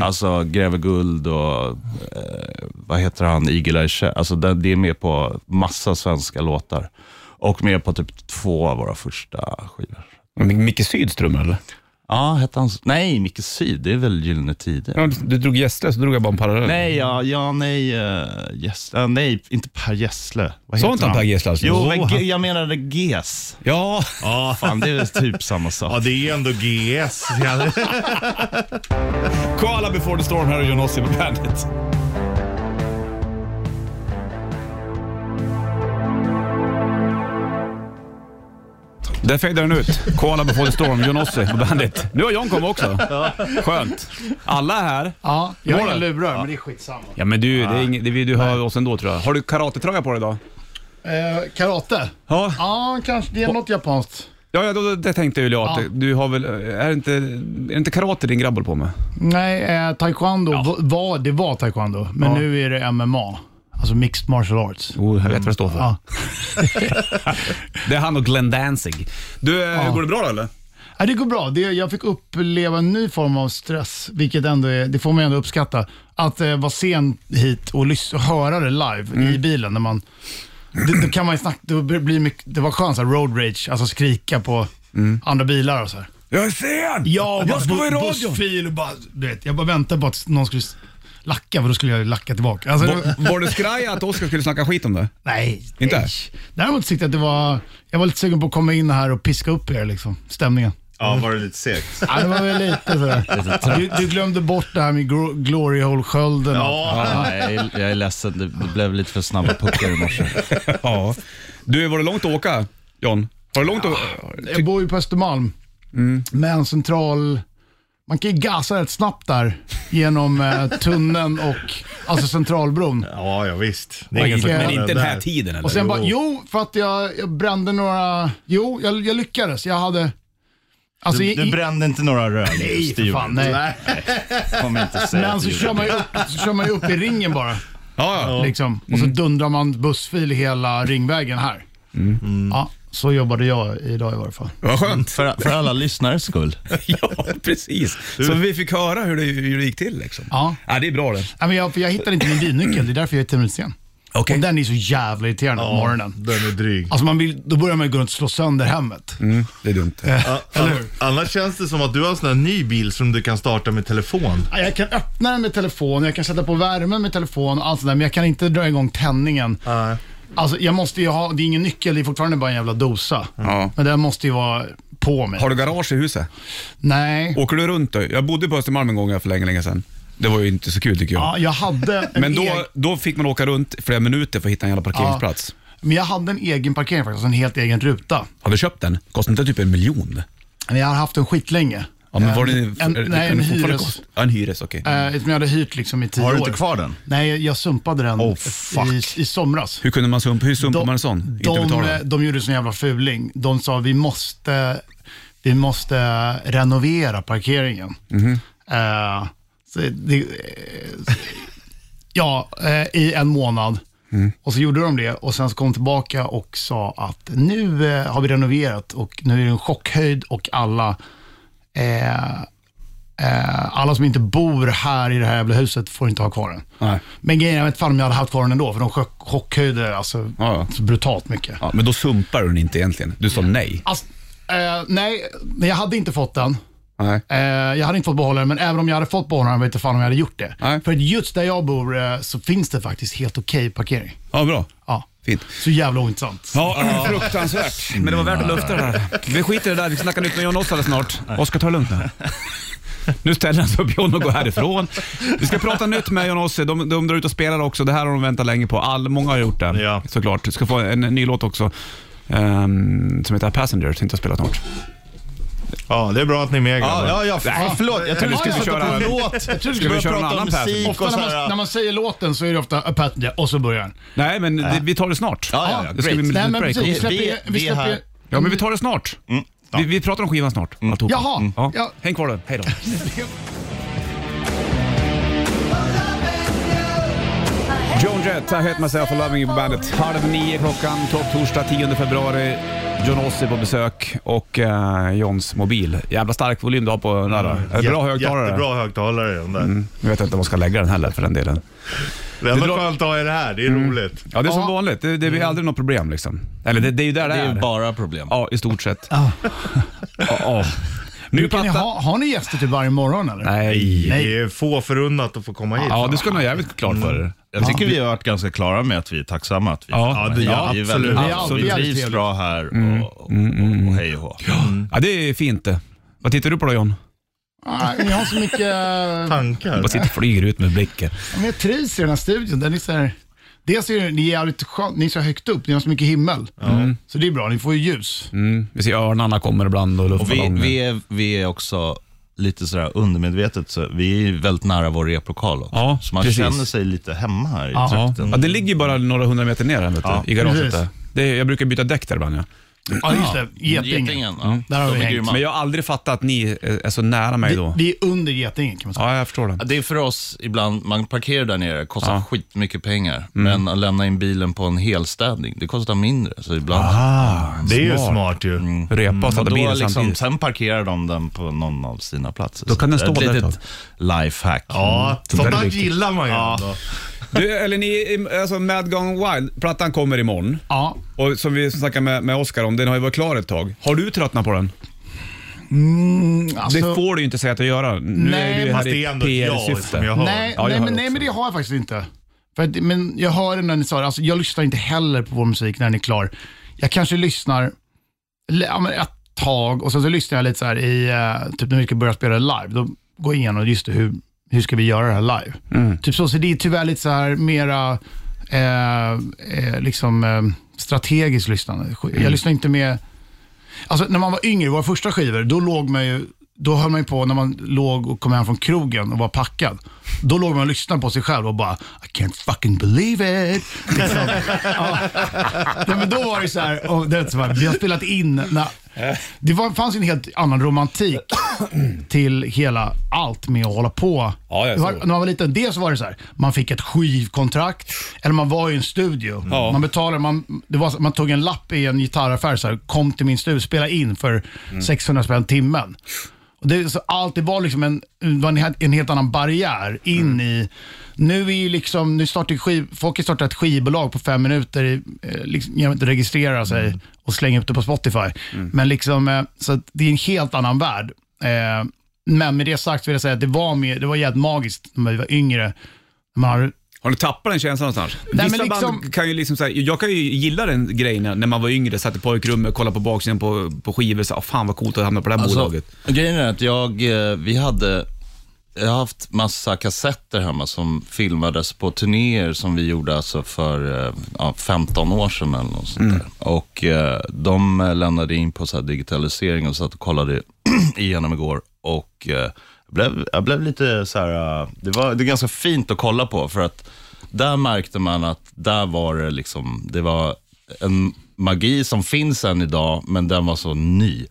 alltså Greve Guld och eh, vad heter han, Eagle Eye Sh- Alltså det, det är med på massa svenska låtar. Och med på typ två av våra första skivor. Micke Syds trummor eller? Ja, hette han så? Nej, Micke Syd, det är väl Gyllene Tider? Ja, du drog gäster så drog jag bara en parallell. Nej, ja, ja nej, uh, yes, eh, nej, inte Per Gessle. Vad Sa heter inte han Per Gessle alltså? Jo, Jo, men han- ge- jag menade GES. Ja, Ja, fan det är väl typ samma Ja, (laughs) sak. det är ändå GS. Ja, Koala before the storm här och Jonossi på bandet. Där fejdar den ut. Koala before the storm, Jonossi på bandet. Nu har John kommit också. Skönt. Alla är här. Ja, jag har Målen. inga lurar, men det är skitsamma. Ja men du, det är ing- det vill du hör oss ändå tror jag. Har du karatetröja på dig idag? Eh, karate? Ja. Ja, kanske. Det är något japanskt. Ja, ja då, då, det tänkte jag ja. att du har väl, är det inte, är det inte karate din grabb håller på med? Nej, eh, taekwondo va- var, det var taekwondo, men Ja. nu är det MMA. Alltså mixed martial arts. Jo, jag vet vad det står för. Ja. (laughs) Det är han och Glenn Danzig. Du, eh, går det bra då eller? Nej, det går bra. Det, jag fick uppleva en ny form av stress, vilket ändå är, det får man ändå uppskatta. Att eh, vara sen hit och lys- och höra det live i bilen när man det, då kan man ju snacka, då blir mycket, det var skönt så här, road rage, alltså skrika på andra bilar och så här. Jag är sen! Ja, och bara jag ska vara i bu- radion! bussfil och bara, du vet, jag bara väntade på att någon skulle s- lacka, för då skulle jag ju lacka tillbaka. Alltså, det- Var du skraj att Oskar skulle snacka skit om det? nej, Inte? nej. Däremot tyckte jag att det var, jag var lite sugen på att komma in här och piska upp er liksom, stämningen. Ja, var det lite segt? Ja, det var väl lite sådär. Du, du glömde bort det här med gro- glory hole-skölden. Ja, Ja, jag, är, jag är ledsen, det, det blev lite för snabba puckar i morse. (laughs) Ja. Du, var det långt att åka, John? Var det långt att... Jag bor ju på Östermalm, men central... Man kan ju gasa rätt snabbt där genom eh, tunneln och alltså centralbron. ja, ja visst. Det är Men ingen som inte Men klarar inte den här där. tiden eller? Och sen bara, jo, för att jag, jag brände några... Jo, jag, jag lyckades. Jag hade... Alltså, Du, i- du i- brände inte några rör. Nej, för fan, nej. Nej. Kom inte Äh, säga Men att så du gjorde kör, man ju upp, så kör man ju upp i ringen bara. Ja, Mm. ja. Liksom. Och så dundrar man bussfil hela ringvägen här. Mm. Ja, så jobbade jag idag i varje fall. Vad skönt. För, för alla lyssnares skull. (laughs) Ja, precis. Så vi fick höra hur det, hur det gick till liksom. Ja. Ja, det är bra det. Nej, men jag, för jag hittade inte min bilnyckel, det är därför jag är 10 minuter sen. Okej. Och den är så jävla irriterande på morgonen. Den är dryg. Alltså man vill, då börjar man ju gå runt och slå sönder hemmet. Mm, det är dumt. Ja, an- Annars känns det som att du har en sån här ny bil som du kan starta med telefon. Ja, Jag kan öppna den med telefon, jag kan sätta på värmen med telefon och allt sånt där, men jag kan inte dra igång tändningen. Nej. Alltså jag måste ju ha, det är ingen nyckel, det är fortfarande bara en jävla dosa. Ja. Men den måste ju vara på mig. Har du garage i huset? Nej. Åker du runt då? Jag bodde på Östermalm en gång här för länge, länge sedan. Det var ju inte så kul tycker jag. Ja, jag hade en Men egen, då, då fick man åka runt i flera minuter för att hitta en jävla parkeringsplats. men jag hade en egen parkering faktiskt, en helt egen ruta. Har du köpt den? Kostar inte typ en miljon? Men jag har haft den skitlänge. Ja, men var det, en, en, är- nej, är en den fortfarande hyres... kost- Ja, en hyres, okej. Eh, som jag hade hyrt liksom i tio år. Har du inte kvar den? Nej, jag- jag sumpade den Oh, fuck. i, i somras. Hur kunde man sumpa, hur sumpar De- man en sån? inte betala de, den? de gjorde sån jävla fuling. De sa vi måste, vi måste renovera parkeringen. Mhm. Eh, så det, eh, ja, eh, i en månad. Mm. Och så gjorde de det och sen så kom de tillbaka och sa att nu eh, har vi renoverat och nu är det en chockhöjd och alla eh, eh, alla som inte bor här i det här jävla huset får inte ha kvar den. Nej. Men grejen är, jag vet fan om jag hade haft kvar den ändå, för de chock, chockhöjde alltså, Ja, ja. så brutalt mycket. Ja, men då sumpar du den inte egentligen. Du sa nej. Alltså, eh, nej, men jag hade inte fått den. Nej. Eh, jag hade inte fått behålla den, men även om jag hade fått behålla den, vet inte fan om jag hade gjort det. Nej. För just där jag bor eh, så finns det faktiskt helt okej parkering. Ja, bra. Ja. Fint. Så jävla ointressant. Ja, (clears throat) fruktansvärt. Men det var värt att lufta det här. Vi skiter i det där. Vi snackar nytt med John Ossare snart. Oskar, ta det lugnt nu. Nu ställer han sig upp John och går härifrån. Vi ska prata nytt med John Ossie. De, de drar ut och spelar också. Det här har de väntat länge på. All, många har gjort det Ja. såklart. Du ska få en ny låt också ehm, som heter Passenger som inte har spelat snart. Ja, det är bra att ni är med grabbar. Ja, ja, ja. Nej. Förlåt, jag trodde vi Ja, skulle ja. köra en låt. Jag trodde Ska vi vi köra någon prata annan om Passenger? musik ofta och när så man, här. när man säger låten så är det ofta a passenger och så börjar den. Nej, men det, vi tar det snart. Ja, ja, ja. Det ska bli Great. ett litet Nej, men break precis. Vi också. släpper, Vi- ju- vi vi är släpper, ju- här. Ja, men vi tar det snart. Mm, Vi, vi pratar om skivan snart, alltihopa. Jaha, Mm. Ja. ja. Häng kvar då. Hej då. Joan Jett, I Hate Myself for Loving You på bandet. Halv nio klockan, topp torsdag 10 februari. John Ossie på besök och eh, Johns mobil. Jävla stark volym du har på den där. då. Bra Jätte- högtalare. Jättebra högtalare i den där. Jag vet inte om man ska lägga den heller för den delen. Det enda Det lå- Mm. skönt att ha är det här, det är roligt. Ja, det är som Ja. vanligt. Det, det blir aldrig något problem liksom. Eller det, det är ju där det, Det är. är ju bara problem. Ja, i stort sett. (laughs) Ja, ja. Nu Kan ni Patta- ha, har ni gäster till varje morgon eller? Nej. Det är få förunnat att få komma hit. Ja, det ska nog jävligt klart för er. Jag tycker vi har varit ganska klara med att vi är tacksamma att vi Ja, får komma det- hit. ja, Vi är absolut. väldigt- Mm. Det är alltid Vi jävligt trivs trevligt. bra här och, och, och, och hej och hå. Ja, det är fint det. Vad tittar du på då John? Nej, Ni har så mycket... eh, Tankar. Vad sitter flyger ut med blicken. Ja, Men jag trivs i den här studion. Den är så här, dels är den- ni är jävligt skönt, ni är så högt upp, ni har så mycket himmel. Så det är bra, ni får ju ljus. Mm, vi ser örnarna kommer ibland och Och vi, luftballonger. vi, är, vi är också lite sådär undermedvetet, så vi är väldigt nära vår replokal också. Ja, så man precis. känner sig lite hemma här i ja. trakten. ja, den ligger ju bara några hundra meter ner här, vet du, Ja, i garaget. precis. Där. Det är, jag brukar byta däck där ibland. Ja. Ja, just det. Getingen. Getingen, Typ. ja. Där har De vi är hängt. grymma. Men jag har aldrig fattat att ni eh, är så nära mig då. Vi är under Getingen kan man säga. Ja, jag förstår det. Det är för oss ibland, man parkerar där nere, kostar skitmycket pengar. Men att lämna in bilen på en helstädning, det kostar mindre. Så ibland, Ah, det är ju smart ju. Mm. Repa och Mm. och städa då bilen liksom, samtidigt. sen parkerar de den på någon av sina platser. Då kan den Så det är stå där Ett ett litet lifehack. Ja, sånt där är där viktigt. gillar man ju ändå. Du, eller ni, alltså Mad Gone Wild, plattan kommer imorgon. Ja, Och som vi snackade med, med Oscar om, den har ju varit klar ett tag. Har du tröttnat på den? mm, alltså, det får du ju inte säga att du gör. Nu Nej, är du Fast här det är i ändå ett ja PR-syfte. liksom, jag hör. nej, Ja, jag nej, har men, det nej, också. men det har jag faktiskt inte. För att, men jag hör när ni sa det, alltså, jag lyssnar inte heller på vår musik när den är klar. Jag kanske lyssnar l- ja, men ett tag och sen så lyssnar jag lite så här i, eh, typ när vi ska börja spela live, då går jag igenom just det, hur, hur ska vi göra det här live. Mm. Typ så, så det är tyvärr lite så här mera eh, eh, liksom, eh, strategiskt lyssnande. Mm. Jag lyssnar inte med Alltså när man var yngre, våra första skivor, då låg man ju då höll man ju på när man låg och kom hem från krogen och var packad. Då låg man och lyssnade på sig själv och bara I can't fucking believe it. Liksom. ja. Nej, men då var det så här, och det är så här vi har spelat in. när- det var, fanns ju en helt annan romantik till hela allt med att hålla på. Ja, jag Det var, tror. när man var liten, dels var det så här, man fick ett skivkontrakt, eller man var i en studio. Mm. Ja. Man betalade, man, det var, så- man tog en lapp i en gitarraffär, så här, kom till min studio, spela in för Mm. 600 spänn timmen. Och det, så allt, det var liksom en, det var en, he- en helt annan barriär in Mm. i... Nu är ju liksom, nu startar ju skiv, folk har startat ett skivbolag på fem minuter i, eh, liksom, genom att registrera sig Mm. och slänga upp det på Spotify. Men liksom, eh, så att det är en helt annan värld. Eh, men med det sagt vill jag säga att det var, mer, det var jävligt magiskt när vi var yngre. När Man hade, Har du tappat den känslan någonstans? Nej, Vissa men liksom- band kan ju liksom säga, jag kan ju gilla den grejen när när man var yngre, satt i pojkrummet, kollade på baksidan på, på skivor och sa, "Åh, fan vad coolt att hamna på det här Alltså, bolaget. grejen är att jag, eh, vi hade, jag har haft massa kassetter hemma som filmades på turnéer som vi gjorde alltså för eh, ja, 15 år sedan eller något sånt Mm. där. Och eh, de eh, lämnade in på så här digitalisering och satt och kollade (clears throat) igenom igår och eh, jag blev, jag blev lite så här, eh, det var det är ganska fint att kolla på för att där märkte man att där var det liksom, det var en magi som finns än idag, men den var så ny.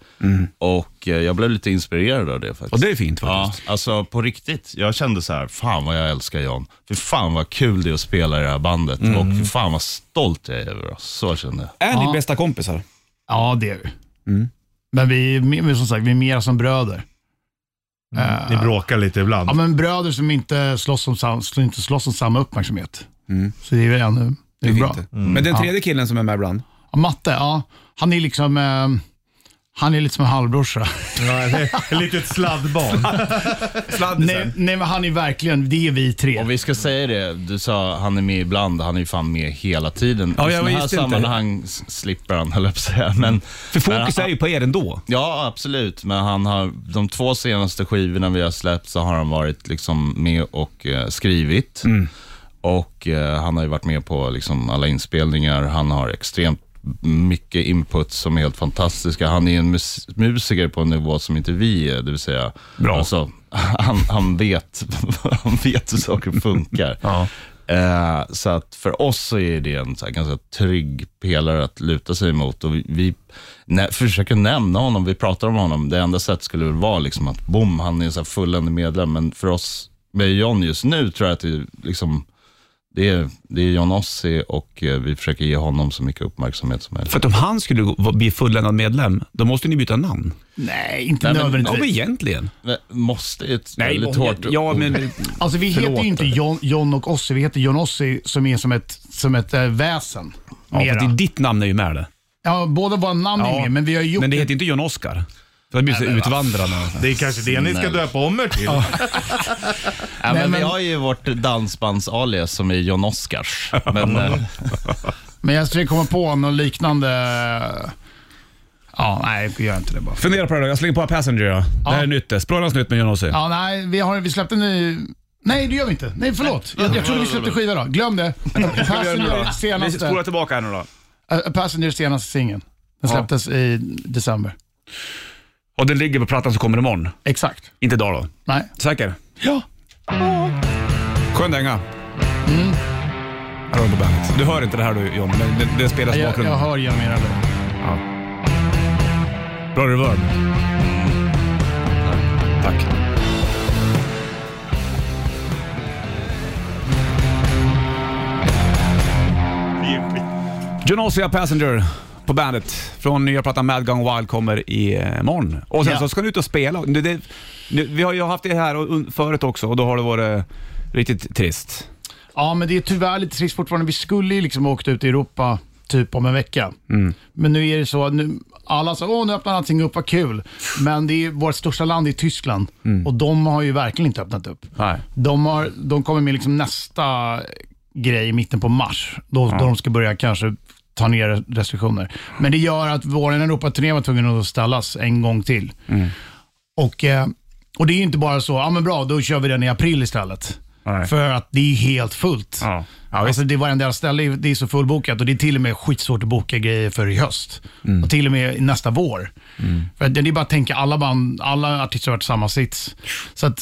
Och eh, jag blev lite inspirerad av det faktiskt. Mm. Och det är fint Ja, faktiskt. alltså på riktigt. Jag kände så här, fan vad jag älskar Jan. För fan vad kul det är att spela i det här bandet och för fan vad stolt jag är över oss. Så kände jag. Är ni bästa kompisar? ja det är vi. Men vi är mer- men som sagt, vi är mera som bröder. Eh, Ni bråkar lite ibland. Ja, men bröder som inte slåss om, sam- som inte slåss om samma uppmärksamhet. Så det är väl ännu det är Det är bra. fint. Mm. Men den tredje killen som är med ibland, Ja, Matte, ja, han är liksom eh, han är lite som en halvbrorsa. Ja, det är ett (laughs) litet sladdbarn. nej, sladdisen. nej, men han är verkligen, det är vi tre. Om vi ska säga det, du sa han är med ibland, han är ju fan med hela tiden. Ja, I jag såna här visste inte. sammanhang s- slipper han, (laughs) höll jag på att säga. Men, För fokus men, är ju på er ändå. Ja, absolut. Men han har, de två senaste skivorna vi har släppt så har han varit liksom med och eh, skrivit. Och eh, han har ju varit med på liksom alla inspelningar. Han har extremt mycket input som är helt fantastiska. Han är ju en mus- musiker på en nivå som inte vi är, det vill säga. Bra. Alltså, (laughs) han, han, vet, (laughs) han vet hur saker funkar. Eh, så att för oss så är det en så här ganska trygg pelare att luta sig emot. Och vi vi nä- försöker nämna honom, vi pratar om honom. Det enda sättet skulle väl vara liksom att bom, han är en så här fulländad medlem. Men för oss, med John just nu, tror jag att det är liksom, det är, det är John Ossi och eh, vi försöker ge honom så mycket uppmärksamhet som möjligt. För att om han skulle gå- bli fulländad medlem, då måste ni byta namn. Nej, inte Nej, men- Ja, men nödvändigtvis. egentligen. Mm. Men Måste är ett väldigt hårt Mm. Ja, ord. men Alltså vi heter Förlåt. ju inte John, John och Ossi, vi heter John Ossi som är som ett, som ett eh, väsen. ja, för mera. att det, ditt namn är ju med det. ja, båda våra namn är med, men vi har ju gjort Men det det. heter inte John Oscar. För det blir så utvandrarna. Det är kanske det ni ska Snälla. döpa om er till. Ja, men Nej, men- Vi har ju vårt dansbandsalias som är (laughs) John Oscars. Men, eh, Men jag skulle komma på något liknande. Ja, nej, vi gör inte det bara. Fundera på det då. Jag slänger på Passenger. Ja. Det här är nytt det. Språlans nytt med John Ossi. Ja, nej, vi, har, vi släppte en ny... Nej, det gör vi inte. Nej, förlåt. Jag, jag trodde vi släppte skiva då. Glöm det. Passenger senaste, tillbaka här nu då. äh, Passenger senaste singeln. Den Ja. släpptes i december. Och den ligger på plattan som kommer imorgon. Exakt. Inte idag då. Nej. Säker? Ja. Skön dänga. Mm. Här har du på bandet. Du hör inte det här du John, men det, det spelas i Jag, jag bakgrunden. hör genom era lurar. Bra reverb. Tack. Genosia Passenger på bandet från nya plattan Mad Gone Wild kommer imorgon. Och sen Ja. så ska ni ut och spela. Nu, det, nu, vi har ju haft det här och- förut också och då har det varit riktigt trist. Ja, men det är tyvärr lite trist fortfarande. Vi skulle ju liksom ha åkt ut i Europa typ om en vecka. Men nu är det så att nu, alla sa åh nu öppnar allting upp, vad kul. Men det är, vårt största land är Tyskland och de har ju verkligen inte öppnat upp. Nej. De, har, de kommer med liksom nästa grej i mitten på mars, då, då de ska börja kanske ta ner restriktioner. Men det gör att vår Europaturné var tvungen att ställas en gång till. Mm. Och, eh, och det är ju inte bara så, ja ah, men bra, då kör vi den i april istället. Nej. För att det är helt fullt. Ja. Ja, visst. alltså, det är varenda ställe, det är så fullbokat och det är till och med skitsvårt att boka grejer för i höst. Mm. Och till och med nästa vår. För att det är bara att tänka, alla, band, alla artister har varit i samma sits. Så att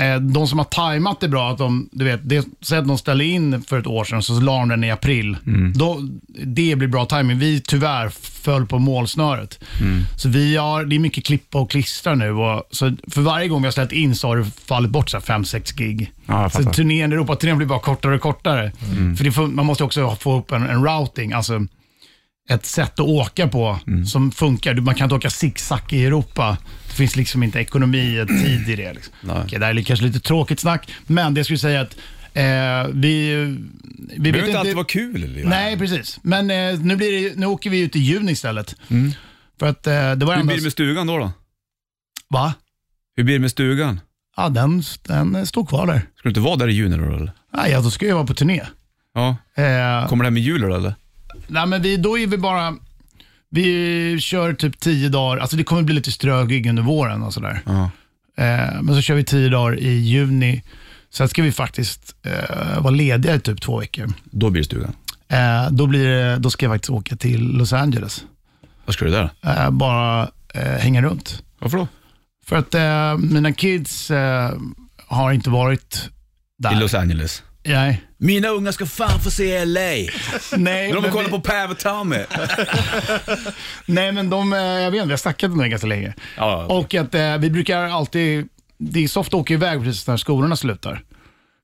eh, de som har tajmat det bra, att de, du vet, det, säg att de ställer in för ett år sedan, så la de den i april. Mm. Då, det blir bra timing. Vi tyvärr föll på målsnöret. Mm. Så vi har, det är mycket klippa och klistra nu. Och, så för varje gång vi har ställt in så har det fallit bort 5-6 gig. Ja, jag så fattar. Mm. turnén, Europaturnén blir bara kortare och kortare. För det får, man måste också få upp en, en routing, alltså ett sätt att åka på Mm. som funkar. Du- Man kan inte åka zigzag i Europa. Det finns liksom inte ekonomi och tid i det. Liksom. Okej, det här är kanske lite tråkigt snack, men det jag skulle säga att eh, vi... Vi Det behöver inte alltid vara kul. Eller? Nej, precis. Men eh, nu, blir det, ju- nu åker vi ut i juni istället. För att eh, det var Mm. Hur enda... blir det med stugan då? då? Va? Hur blir det med stugan? Ja, den, den eh, står kvar där. Ska du inte vara där i juni då? Eller? Nej, ja, då ska jag vara på turné. Ja. Eh, Kommer det här med jul då, eller? Nej, men vi, då är vi bara... Vi kör typ tio dagar, alltså det kommer bli lite strögig under våren och sådär. Ja. Eh, men så kör vi tio dagar i juni. Sen ska vi faktiskt eh, vara lediga i typ två veckor. Då blir det stugan. Eh, då, blir det, då ska jag faktiskt åka till Los Angeles. Vad ska du där? Eh, bara eh, hänga runt. Varför då? För att eh, mina kids eh, har inte varit där. I Los Angeles. Nej. Mina unga ska fan få se LA. Nej, När de men kollar vi- på Päv och Tommy. Nej, men de, eh, jag vet inte, vi har snackat om det ganska länge. Ja, okej. Och att eh, vi brukar alltid, det är soft att åka iväg precis när skolorna slutar.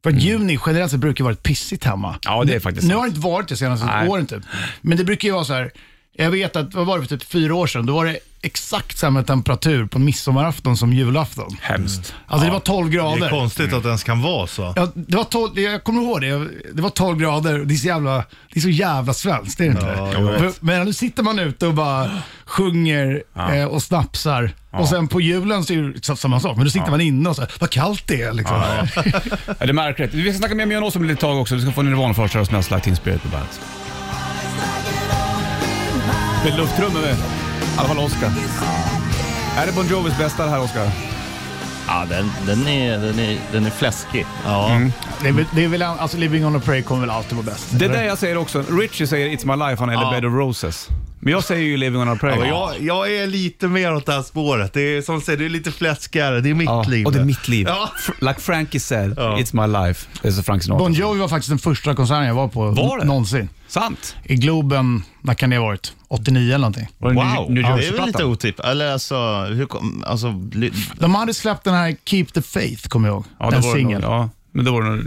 För att juni generellt sett brukar vara ett pissigt hemma. Mm. Ja, det är faktiskt Nu sant. har det inte varit det senaste Nej. åren typ. Men det brukar ju vara så här, jag vet att, vad var det för typ fyra år sedan? Då var det exakt samma temperatur på midsommarafton som julafton. Hemskt. Alltså det var 12 Det är grader. konstigt att det ens kan vara så. Ja, det var 12, jag kommer ihåg det. Det var 12 grader och det är så jävla, det är så jävla svenskt, det är det inte? Ja, jag men, men nu sitter man ute och bara sjunger eh, och snapsar. Och sen på julen så är det sa- samma sak, men då sitter man inne och så här, vad kallt det är liksom. Ja, det är märkligt. Vi ska snacka mer med Jan Åsum om ett litet tag också. Vi ska få Nirvana först här och sen har jag Slakt in Spirit på bandet. Det är luftrummet med. I alla fall Oscar. Är det Bon Jovis bästa det här Oscar? Ja, den, den, är, den, är, den är fläskig. Ja. (laughs) Mm. det, är, väl- det är väl, alltså Living on a prayer kommer väl alltid vara bäst. Det är eller? det jag säger också. Richie säger It's My Life, han eller Bed of Roses. Men jag säger ju Living on a Prayer. Ja, jag, jag är lite mer åt det här spåret. Det är som du säger, det är lite fläskigare. Det är mitt Ja, liv. Och det är mitt liv. Ja. F- Like Frankie said, Ja. It's My Life. Det är så Frank Sinatra. Bon Jovi var faktiskt den första konserten jag var på Var det? någonsin. Sant. I Globen, när kan det ha varit? 89 eller någonting. Var det New- New ja, det är väl lite Jersey-plattan? otippat. Eller alltså, hur kom, alltså, li- De hade släppt den här Keep the Faith, kommer jag ihåg. Ja, det den var det nog. singeln. Ja, men det var det nog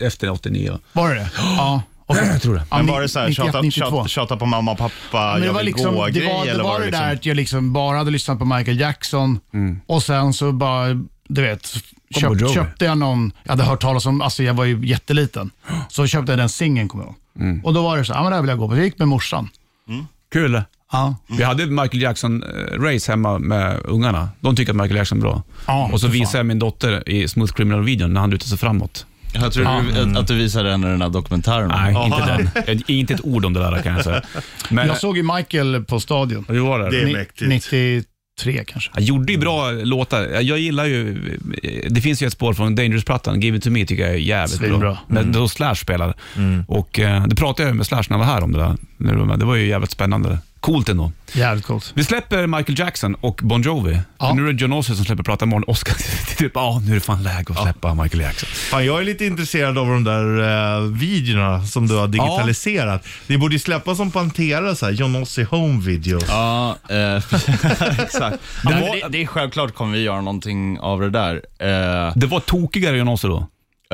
efter 89. Var det det? Ja. Okay. Jag tror det. men var det så här, tjata, tjata, tjata på mamma och pappa, Men det jag var vill liksom, gå det grej var, det eller var det där att jag liksom bara hade lyssnat på Michael Jackson och sen så bara, du vet, Bon Jovi. köp, köpte jag någon, jag hade hört talas om, alltså jag var ju jätteliten, så köpte jag den singeln kommer jag ihåg. Och då var det så, ja men det här vill jag gå på. Jag gick med morsan. Kul. Ja. Vi hade ett Michael Jackson-race hemma med ungarna. De tycker att Michael Jackson är bra. Ja, och så för fan. visade jag min dotter i Smooth Criminal-videon när han lutar sig framåt. Jag tror du, att du visade den i den här dokumentären. Nej, inte den. Jag- Inte ett ord om det där kan jag säga. Men, Jag såg ju Michael på Stadion, det var Äh. det. Det är Ni- mäktigt. 93 kanske. Han gjorde ju bra låtar. Jag gillar ju, det finns ju ett spår från Dangerous-plattan, Give It To Me tycker jag är jävligt Svinbra. bra. Mm. Då Slash spelade. Och eh, det pratade jag med Slash när han var här om det där. När du var med. Det var ju jävligt spännande. Coolt ändå. Jävligt coolt. Vi släpper Michael Jackson och Bon Jovi. Ja. För Nu är det John Ossie som släpper Prata imorgon. Oskar (laughs) typ, ja nu är det fan läge att släppa Michael Jackson. Fan, jag är lite intresserad av de där eh, videorna som du har digitaliserat. Det borde ju släppas som Pantera, så här, John Ossie Home Videos. Ja, eh, (laughs) exakt. Ja, men det, det är självklart kommer vi göra någonting av det där. Eh, Det var tokigare John Ossie då.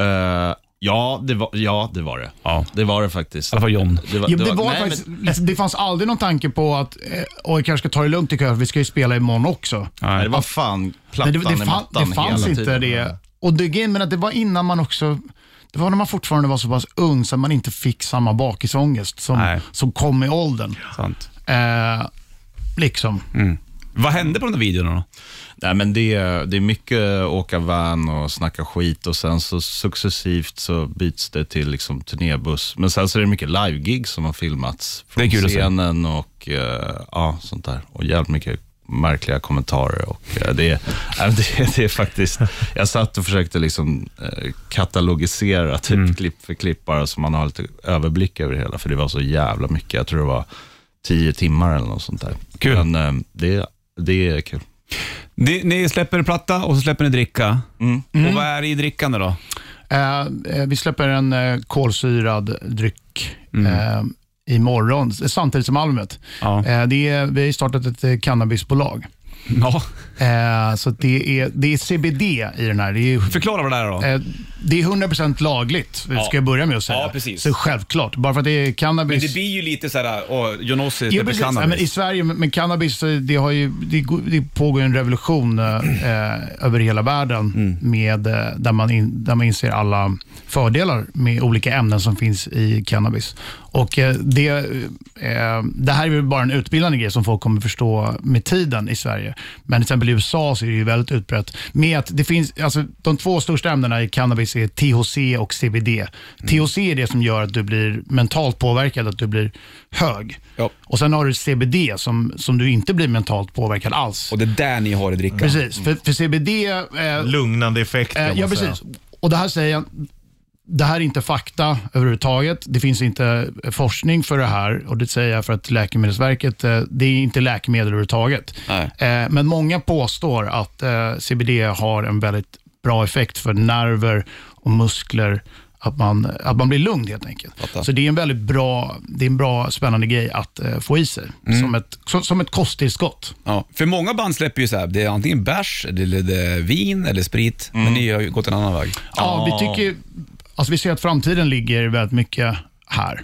eh, ja, det var, ja, det var det. Ja. Det var det faktiskt. I alla fall John. var, Ja, det, var- var nej, faktiskt, alltså, men- det fanns aldrig någon tanke på att, eh, och jag kanske ska ta det lugnt i kväll, vi ska ju spela imorgon också. nej, det var Ja. fan Nej, plattan det, det, i fan, mattan det fanns hela inte tiden. det. Och det, grejen, men att det var innan man också... Det var när man fortfarande var så pass ung så att man inte fick samma bakisångest som, Nej. som kom i åldern. Sant. Eh, liksom. Vad hände på de där videorna då? Nej, men det, är- det är mycket åka van och snacka skit och sen så successivt så byts det till liksom turnébuss. Men sen så är det mycket live-gig som har filmats från Det är kul att se. scenen och eh, ja, sånt där. Och jävligt mycket märkliga kommentarer. Och, eh, det, är- (laughs) nej, men det, det är faktiskt, jag satt och försökte liksom, eh, katalogisera typ Mm. klipp för klipp bara så man har lite överblick över det hela. För det var så jävla mycket. Jag tror det var tio timmar eller något sånt där. Kul. Men eh, det, det är kul. Ni, ni släpper platta och så släpper ni dricka. Och vad är det i drickan då? Eh, eh, vi släpper en eh, kolsyrad dryck Mm. eh, imorgon, s- samtidigt som albumet. Ja. Eh, det är, vi har ju startat ett eh, cannabisbolag. ja. Eh, så att det, är, det är CBD i den här. Det är, Förklara vad det är då. eh, det är 100% lagligt, Ja. ska jag börja med att säga. Ja, precis. Så självklart, bara för att det är cannabis. Men det blir ju lite såhär, åh, Jonossi Ja, släpper precis. Ja, men I cannabis. Sverige, men men cannabis, eh, det, har ju, det, går- det pågår en revolution eh, eh, över hela världen Mm. med, eh, där, man in, där man inser alla fördelar med olika ämnen som finns i cannabis. Och eh, det, eh, det här är väl bara en utbildande grej som folk kommer förstå med tiden i Sverige. Men till exempel i USA så är det ju väldigt utbrett. Med att det finns, alltså, de två största ämnena i cannabis är THC och CBD. Mm. THC är det som gör att du blir mentalt påverkad, att du blir hög. Ja. Och sen har du CBD som, som du inte blir mentalt påverkad alls. Och det Mm. är där ni har i drickan. Precis, för, för CBD... Eh, Lugnande effekt kan eh, man ja, säga. precis. Och det här säger jag, det här är inte fakta överhuvudtaget. Det finns inte eh, forskning för det här och det säger jag för att Läkemedelsverket, eh, det är inte läkemedel överhuvudtaget. Nej. Eh, Men många påstår att eh, CBD har en väldigt bra effekt för nerver och muskler, att man, att man blir lugn helt enkelt. Fattar. Så det är en väldigt bra, det är en bra spännande grej att eh, få i sig, Mm. som, ett, som, som ett kosttillskott. Ja. För många band släpper ju såhär, det är antingen bärs, eller det är vin eller sprit. Men ni har ju gått en annan väg. Ja, Ja. vi tycker alltså vi ser att framtiden ligger väldigt mycket här.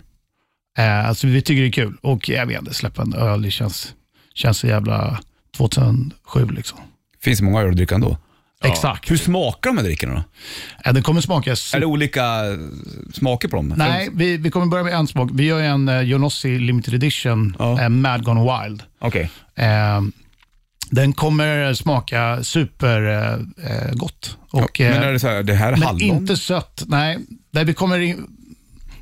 Eh, alltså vi tycker det är kul och jag vet inte, släppa en öl, det känns, känns så jävla 2007 liksom. finns många öl att dricka ändå. Exakt. Hur smakar de här drickorna då? Eh, den kommer smaka Är super... det olika smaker på dem? Nej, vi, vi kommer börja med en smak. Vi gör ju en eh, Jonossi Limited Edition, Ja. eh, Mad Gone Wild. Okej. Eh, den kommer smaka supergott. Eh, gott. Och, eh, men är det så här, det här är Men hallon? inte sött. Nej, nej vi, kommer in,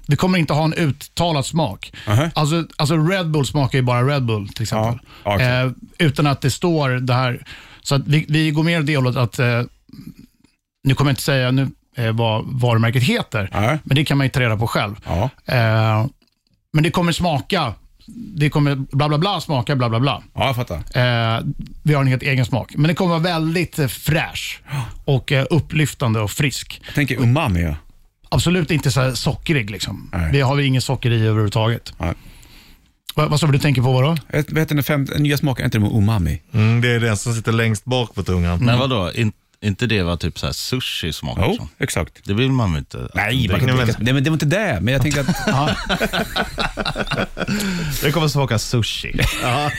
vi kommer inte ha en uttalad smak. Aha. Alltså, alltså Red Bull smakar ju bara Red Bull till exempel. Ja, ja, exakt. eh, utan att det står det här. Så att vi, vi går mer åt det hållet att, eh, nu kommer jag inte säga nu, eh, vad varumärket heter, Nej. men det kan man ju ta reda på själv. Ja. Eh, men det kommer smaka, det kommer bla bla bla smaka bla bla bla. ja, jag fattar. Eh, vi har en helt egen smak. Men den kommer vara väldigt eh, fräsch och eh, upplyftande och frisk. Jag tänker umami. Ja. Absolut inte så här sockrig. Liksom. Nej. Vi har väl ingen socker i överhuvudtaget. Nej. Va, vad sa du du tänker på vad då? Ett- Vad heter den fem, den nya smaken? Är inte det med umami? Mm, det är den som sitter längst bak på tungan. Men vadå, in, inte det var typ så här sushi smakar som? liksom? exakt. Det vill man väl inte? Nej, man det, kan inte men- dricka. Nej, men det var inte det. Men jag tänkte (laughs) att... Det kommer smaka sushi. ja,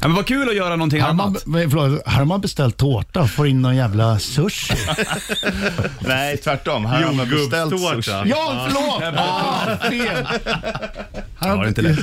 men vad kul att göra någonting Här har, man, annat. nej, förlåt, här har man beställt tårta och får in någon (laughs) jävla sushi. (laughs) Nej, tvärtom. Här har man beställt sushi. Jordgubbstårta. ja, förlåt! Ah, fel. Här har- Ja, det är inte lätt.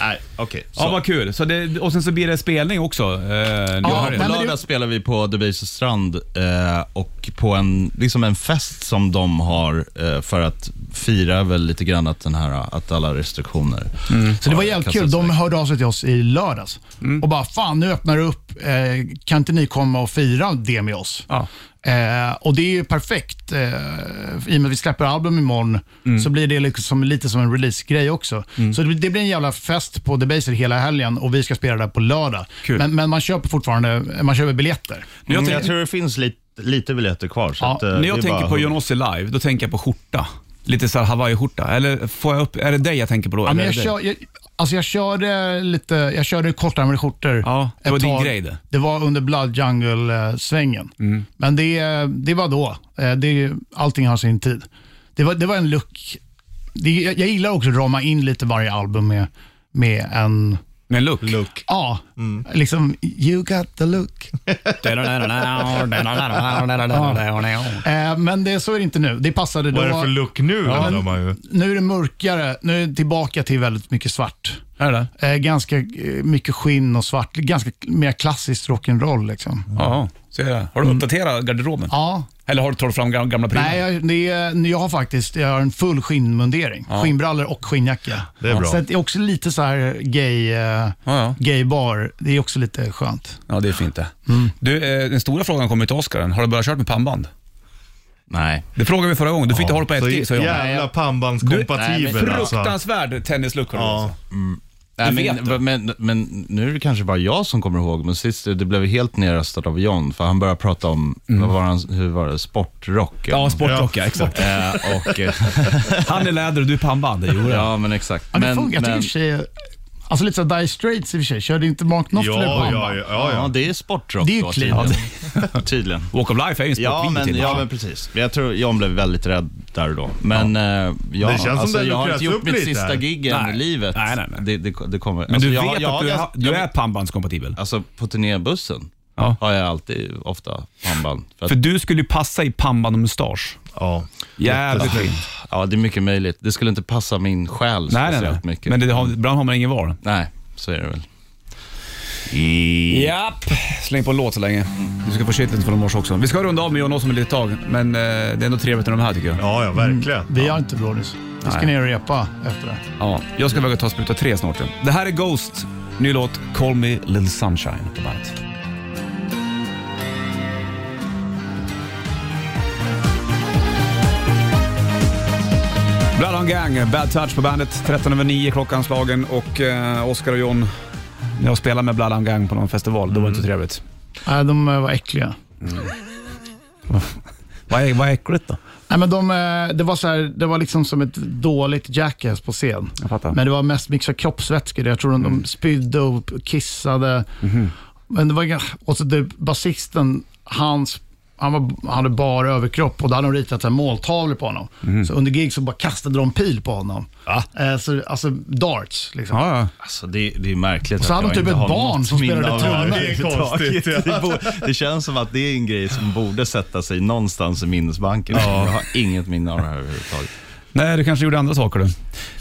Nej, okej. Ja, så. vad kul. Så det, och sen så blir det spelning också. Eh, nu Ja, har På det. men- lördag spelar vi på Debaser strand eh, och på en, liksom en fest som de har eh, för att fira väl lite grann att, den här, att alla restriktioner Mm. Så det var jävligt kul. De hörde av sig till oss i lördags och bara, fan nu öppnar det upp. Eh, kan inte ni komma och fira det med oss? Ja. Eh, och det är ju perfekt. Eh, I och med att vi släpper album imorgon Mm. så blir det liksom lite som en releasegrej också. Så det, det blir en jävla fest på Debaser hela helgen och vi ska spela där på lördag. Kul. Men, men man köper fortfarande man köper biljetter. Mm. När jag, jag tänker- tror det finns lite, lite biljetter kvar. Så Ja, att, eh, när det är jag tänker bara- på John Ossie live, då tänker jag på skjorta. Lite så här Hawaii-skjorta. Eller får jag upp, är det dig jag tänker på då? Ja, eller men är jag, det dig? kör, jag, alltså jag körde lite, jag körde kortärmade skjortor. Ja, det ett var din tag. grej det. Mm. Det var under Blood Jungle-svängen. Men det, det var då. Eh, Det, är ju- allting har sin tid. Det var, det var en look. Det, jag jag gillar också att rama in lite varje album med, med en Men look. look. Ja, Mm. liksom you got the (laughs) look. Eh, men det, så är det inte nu. Det passade då. Vad är det för look nu? Ja, undrar man ju. nu är det mörkare. Nu är det tillbaka till väldigt mycket svart. Är det? Eh, ganska eh, mycket skinn och svart. Ganska mer klassiskt rock'n'roll. Liksom. Mm. Ja, så är det. Har du uppdaterat garderoben? Ja, Eller har du tagit fram gam- gamla prylar? nej, jag, det är, jag har faktiskt jag har en full skinnmundering. Skinnbrallor och skinnjacka. Det är bra. Så att det är också lite så här gay, eh, ja. gaybar. Det är också lite skönt. Ja, det är fint det. Du, eh, den stora frågan kommer till Oscar. Har du börjat köra med pannband? Nej. Det frågade vi förra gången. Du fick inte hålla på ett gig, sa Så jag. jävla Nej, men- pannbandskompatibel alltså. Fruktansvärd tennislook har du Ja. alltså. Nej, Du vet det. men, men, men nu är det kanske bara jag som kommer ihåg, men sist det blev helt nerröstat av John, för han började prata om, vad var han, hur var det, Mm. sportrock? Ja, sportrock ja, exakt. Eh, (laughs) och, eh, alltså. Han är läder och du är pannband. Jo, det. (laughs) ja, men exakt. Ja, det funkar. Jag tycker i men, och för sig, alltså lite såhär Die Straits i och för sig. Körde inte Mark Ja, Knopfler ja, på ja, ja. ja, ja, ja. det är sportrock Det är ju då, clean. tydligen. (laughs) tydligen. Walk of Life är ju en Ja sportvideo men, till. ja, men precis. Jag tror John blev väldigt rädd där och då. Men ja. ja, Det känns som det alltså, har jag har luckrats inte gjort upp mitt lite sista här. gig än Nej. i livet. Nej, nej, nej. Det, det, det kommer. alltså, Men du jag, vet jag att har du, är- ganska- du jag- är pannbandskompatibel? Alltså på turnébussen Ja. har jag alltid ofta pannband. För att, För du skulle ju passa i pannband och mustasch. ja. Jävligt fint. ja, det är mycket möjligt. Det skulle inte passa min själ Nej, nej, speciellt nej. mycket. Men det, har, ibland har man ingen val. Nej, så är det väl. Japp. Släng på en låt så länge. Du ska få shitlist från i morse också. Vi ska runda av med John Ossom ett litet tag, men eh, det är ändå trevligt när de är här tycker jag. Ja, ja, verkligen. Mm. Vi har inte Brodis. Vi ska ner och repa efter det. Ja, jag ska väga ta spruta tre snart. ja. Det här är Ghost, ny låt Call Me Little Sunshine på bandet. Blood on Gang, Bad Touch på bandet. 13 över 9 klockanslagen och eh, Oscar och John, när jag spelade med Blood on Gang på någon festival, det var inte så trevligt. Nej, de eh, var äckliga. Vad är, vad är äckligt då? Nej, men de, eh, det, var så här, det var liksom som ett dåligt jackass på scen. Jag fattar. Men det var mest mixat kroppsvätskor. Jag tror de, Mm. de spydde och kissade. Mhm. Men det var, ga- och så det, basisten, hans, han, var, han hade bara överkropp och då hade de ritat så här måltavlor på honom. Mhm. Så under gig så bara kastade de pil på honom. Eh, så, alltså darts. Liksom. Ja, ja. Alltså det, det är märkligt så att hade de jag typ inte har ett barn något som minne spelade av trummor. här Det är överhuvudtaget. konstigt, ja. (laughs) Det, bo- det känns som att det är en grej som borde sätta sig någonstans i minnesbanken. Jag har inget minne av det här överhuvudtaget. Nej, du kanske gjorde andra saker du.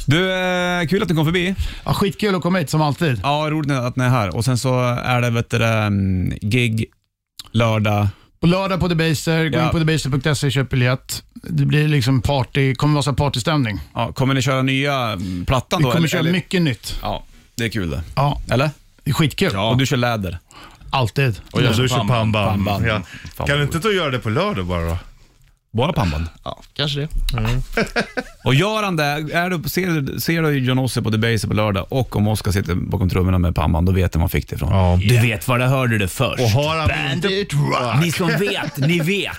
Du, eh, kul att du kom förbi. Ja, skitkul att komma hit som alltid. Ja, roligt att ni är här. Och sen så är det vet du, ehm, gig lördag. På lördag på Debaser, gå Ja. in på debaser.se och köp biljett. Det blir liksom party, kommer vara så här partystämning. Ja, kommer ni köra nya mm, plattan Vi då? kommer eller- köra eller? mycket nytt. Ja, det är kul det. Ja, Eller? det är skitkul. Och du kör läder. Alltid. Och Ja, jag du kör kör pannband. pannband. Pannband. Ja. Fan, Kan vad du inte ta och göra det på lördag bara då? Bara pannband. Ja, kanske det. (laughs) Och gör han det, är du, ser, ser du John Ossie på Debaser på lördag och om Oskar sitter bakom trummorna med pannband, då vet du var han fick det ifrån. Ja. Du vet var det hörde det först. Och har han inte, Bandit rock. Ni som vet, ni vet.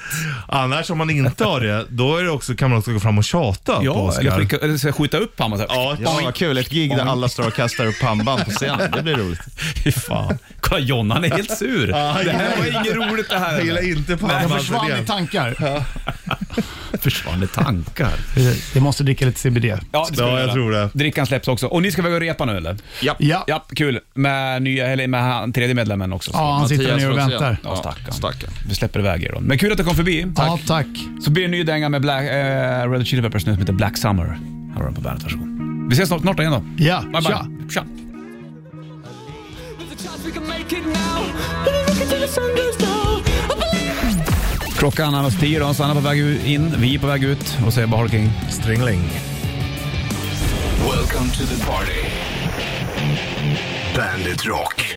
annars om man inte har det, då är det också, kan man också gå fram och tjata på Ja, Oscar. eller, pricka, eller ska jag skjuta upp pannband? Ja, Ja, vad kul. Ett gig där alla står och kastar upp pannband på scenen. Det blir roligt. Fy fan. Kolla John, han är helt sur. han det här gillar var inget roligt det här. jag gillar inte Jag pannband försvann i tankar. Försvann i tankar. Jag måste dricka lite CBD. Ja, det ska Ja, vi jag göra. tror det. Drickan släpps också. Och ni ska väga och repa nu eller? Ja, ja. Ja, kul. Med, nya, eller med han, tredje medlemmen också. Så. han sitter där nere och Mattias väntar. Rosén. Ja, stackarn. stackarn. Vi släpper iväg er då. Men kul att du kom förbi. Ja, tack. Så blir det en ny dänga med Black, eh, Red Hot Chili Peppers nu som heter Black Summer. Här har den på bandet, varsågod. Vi ses snart, snart igen då. Ja, Bye, bye. tja. Tja. Klockan är annars tio då, Sanna på väg u- in, vi är på väg ut och säger bara Harry King. Stringling. Welcome to the party. Bandit Rock.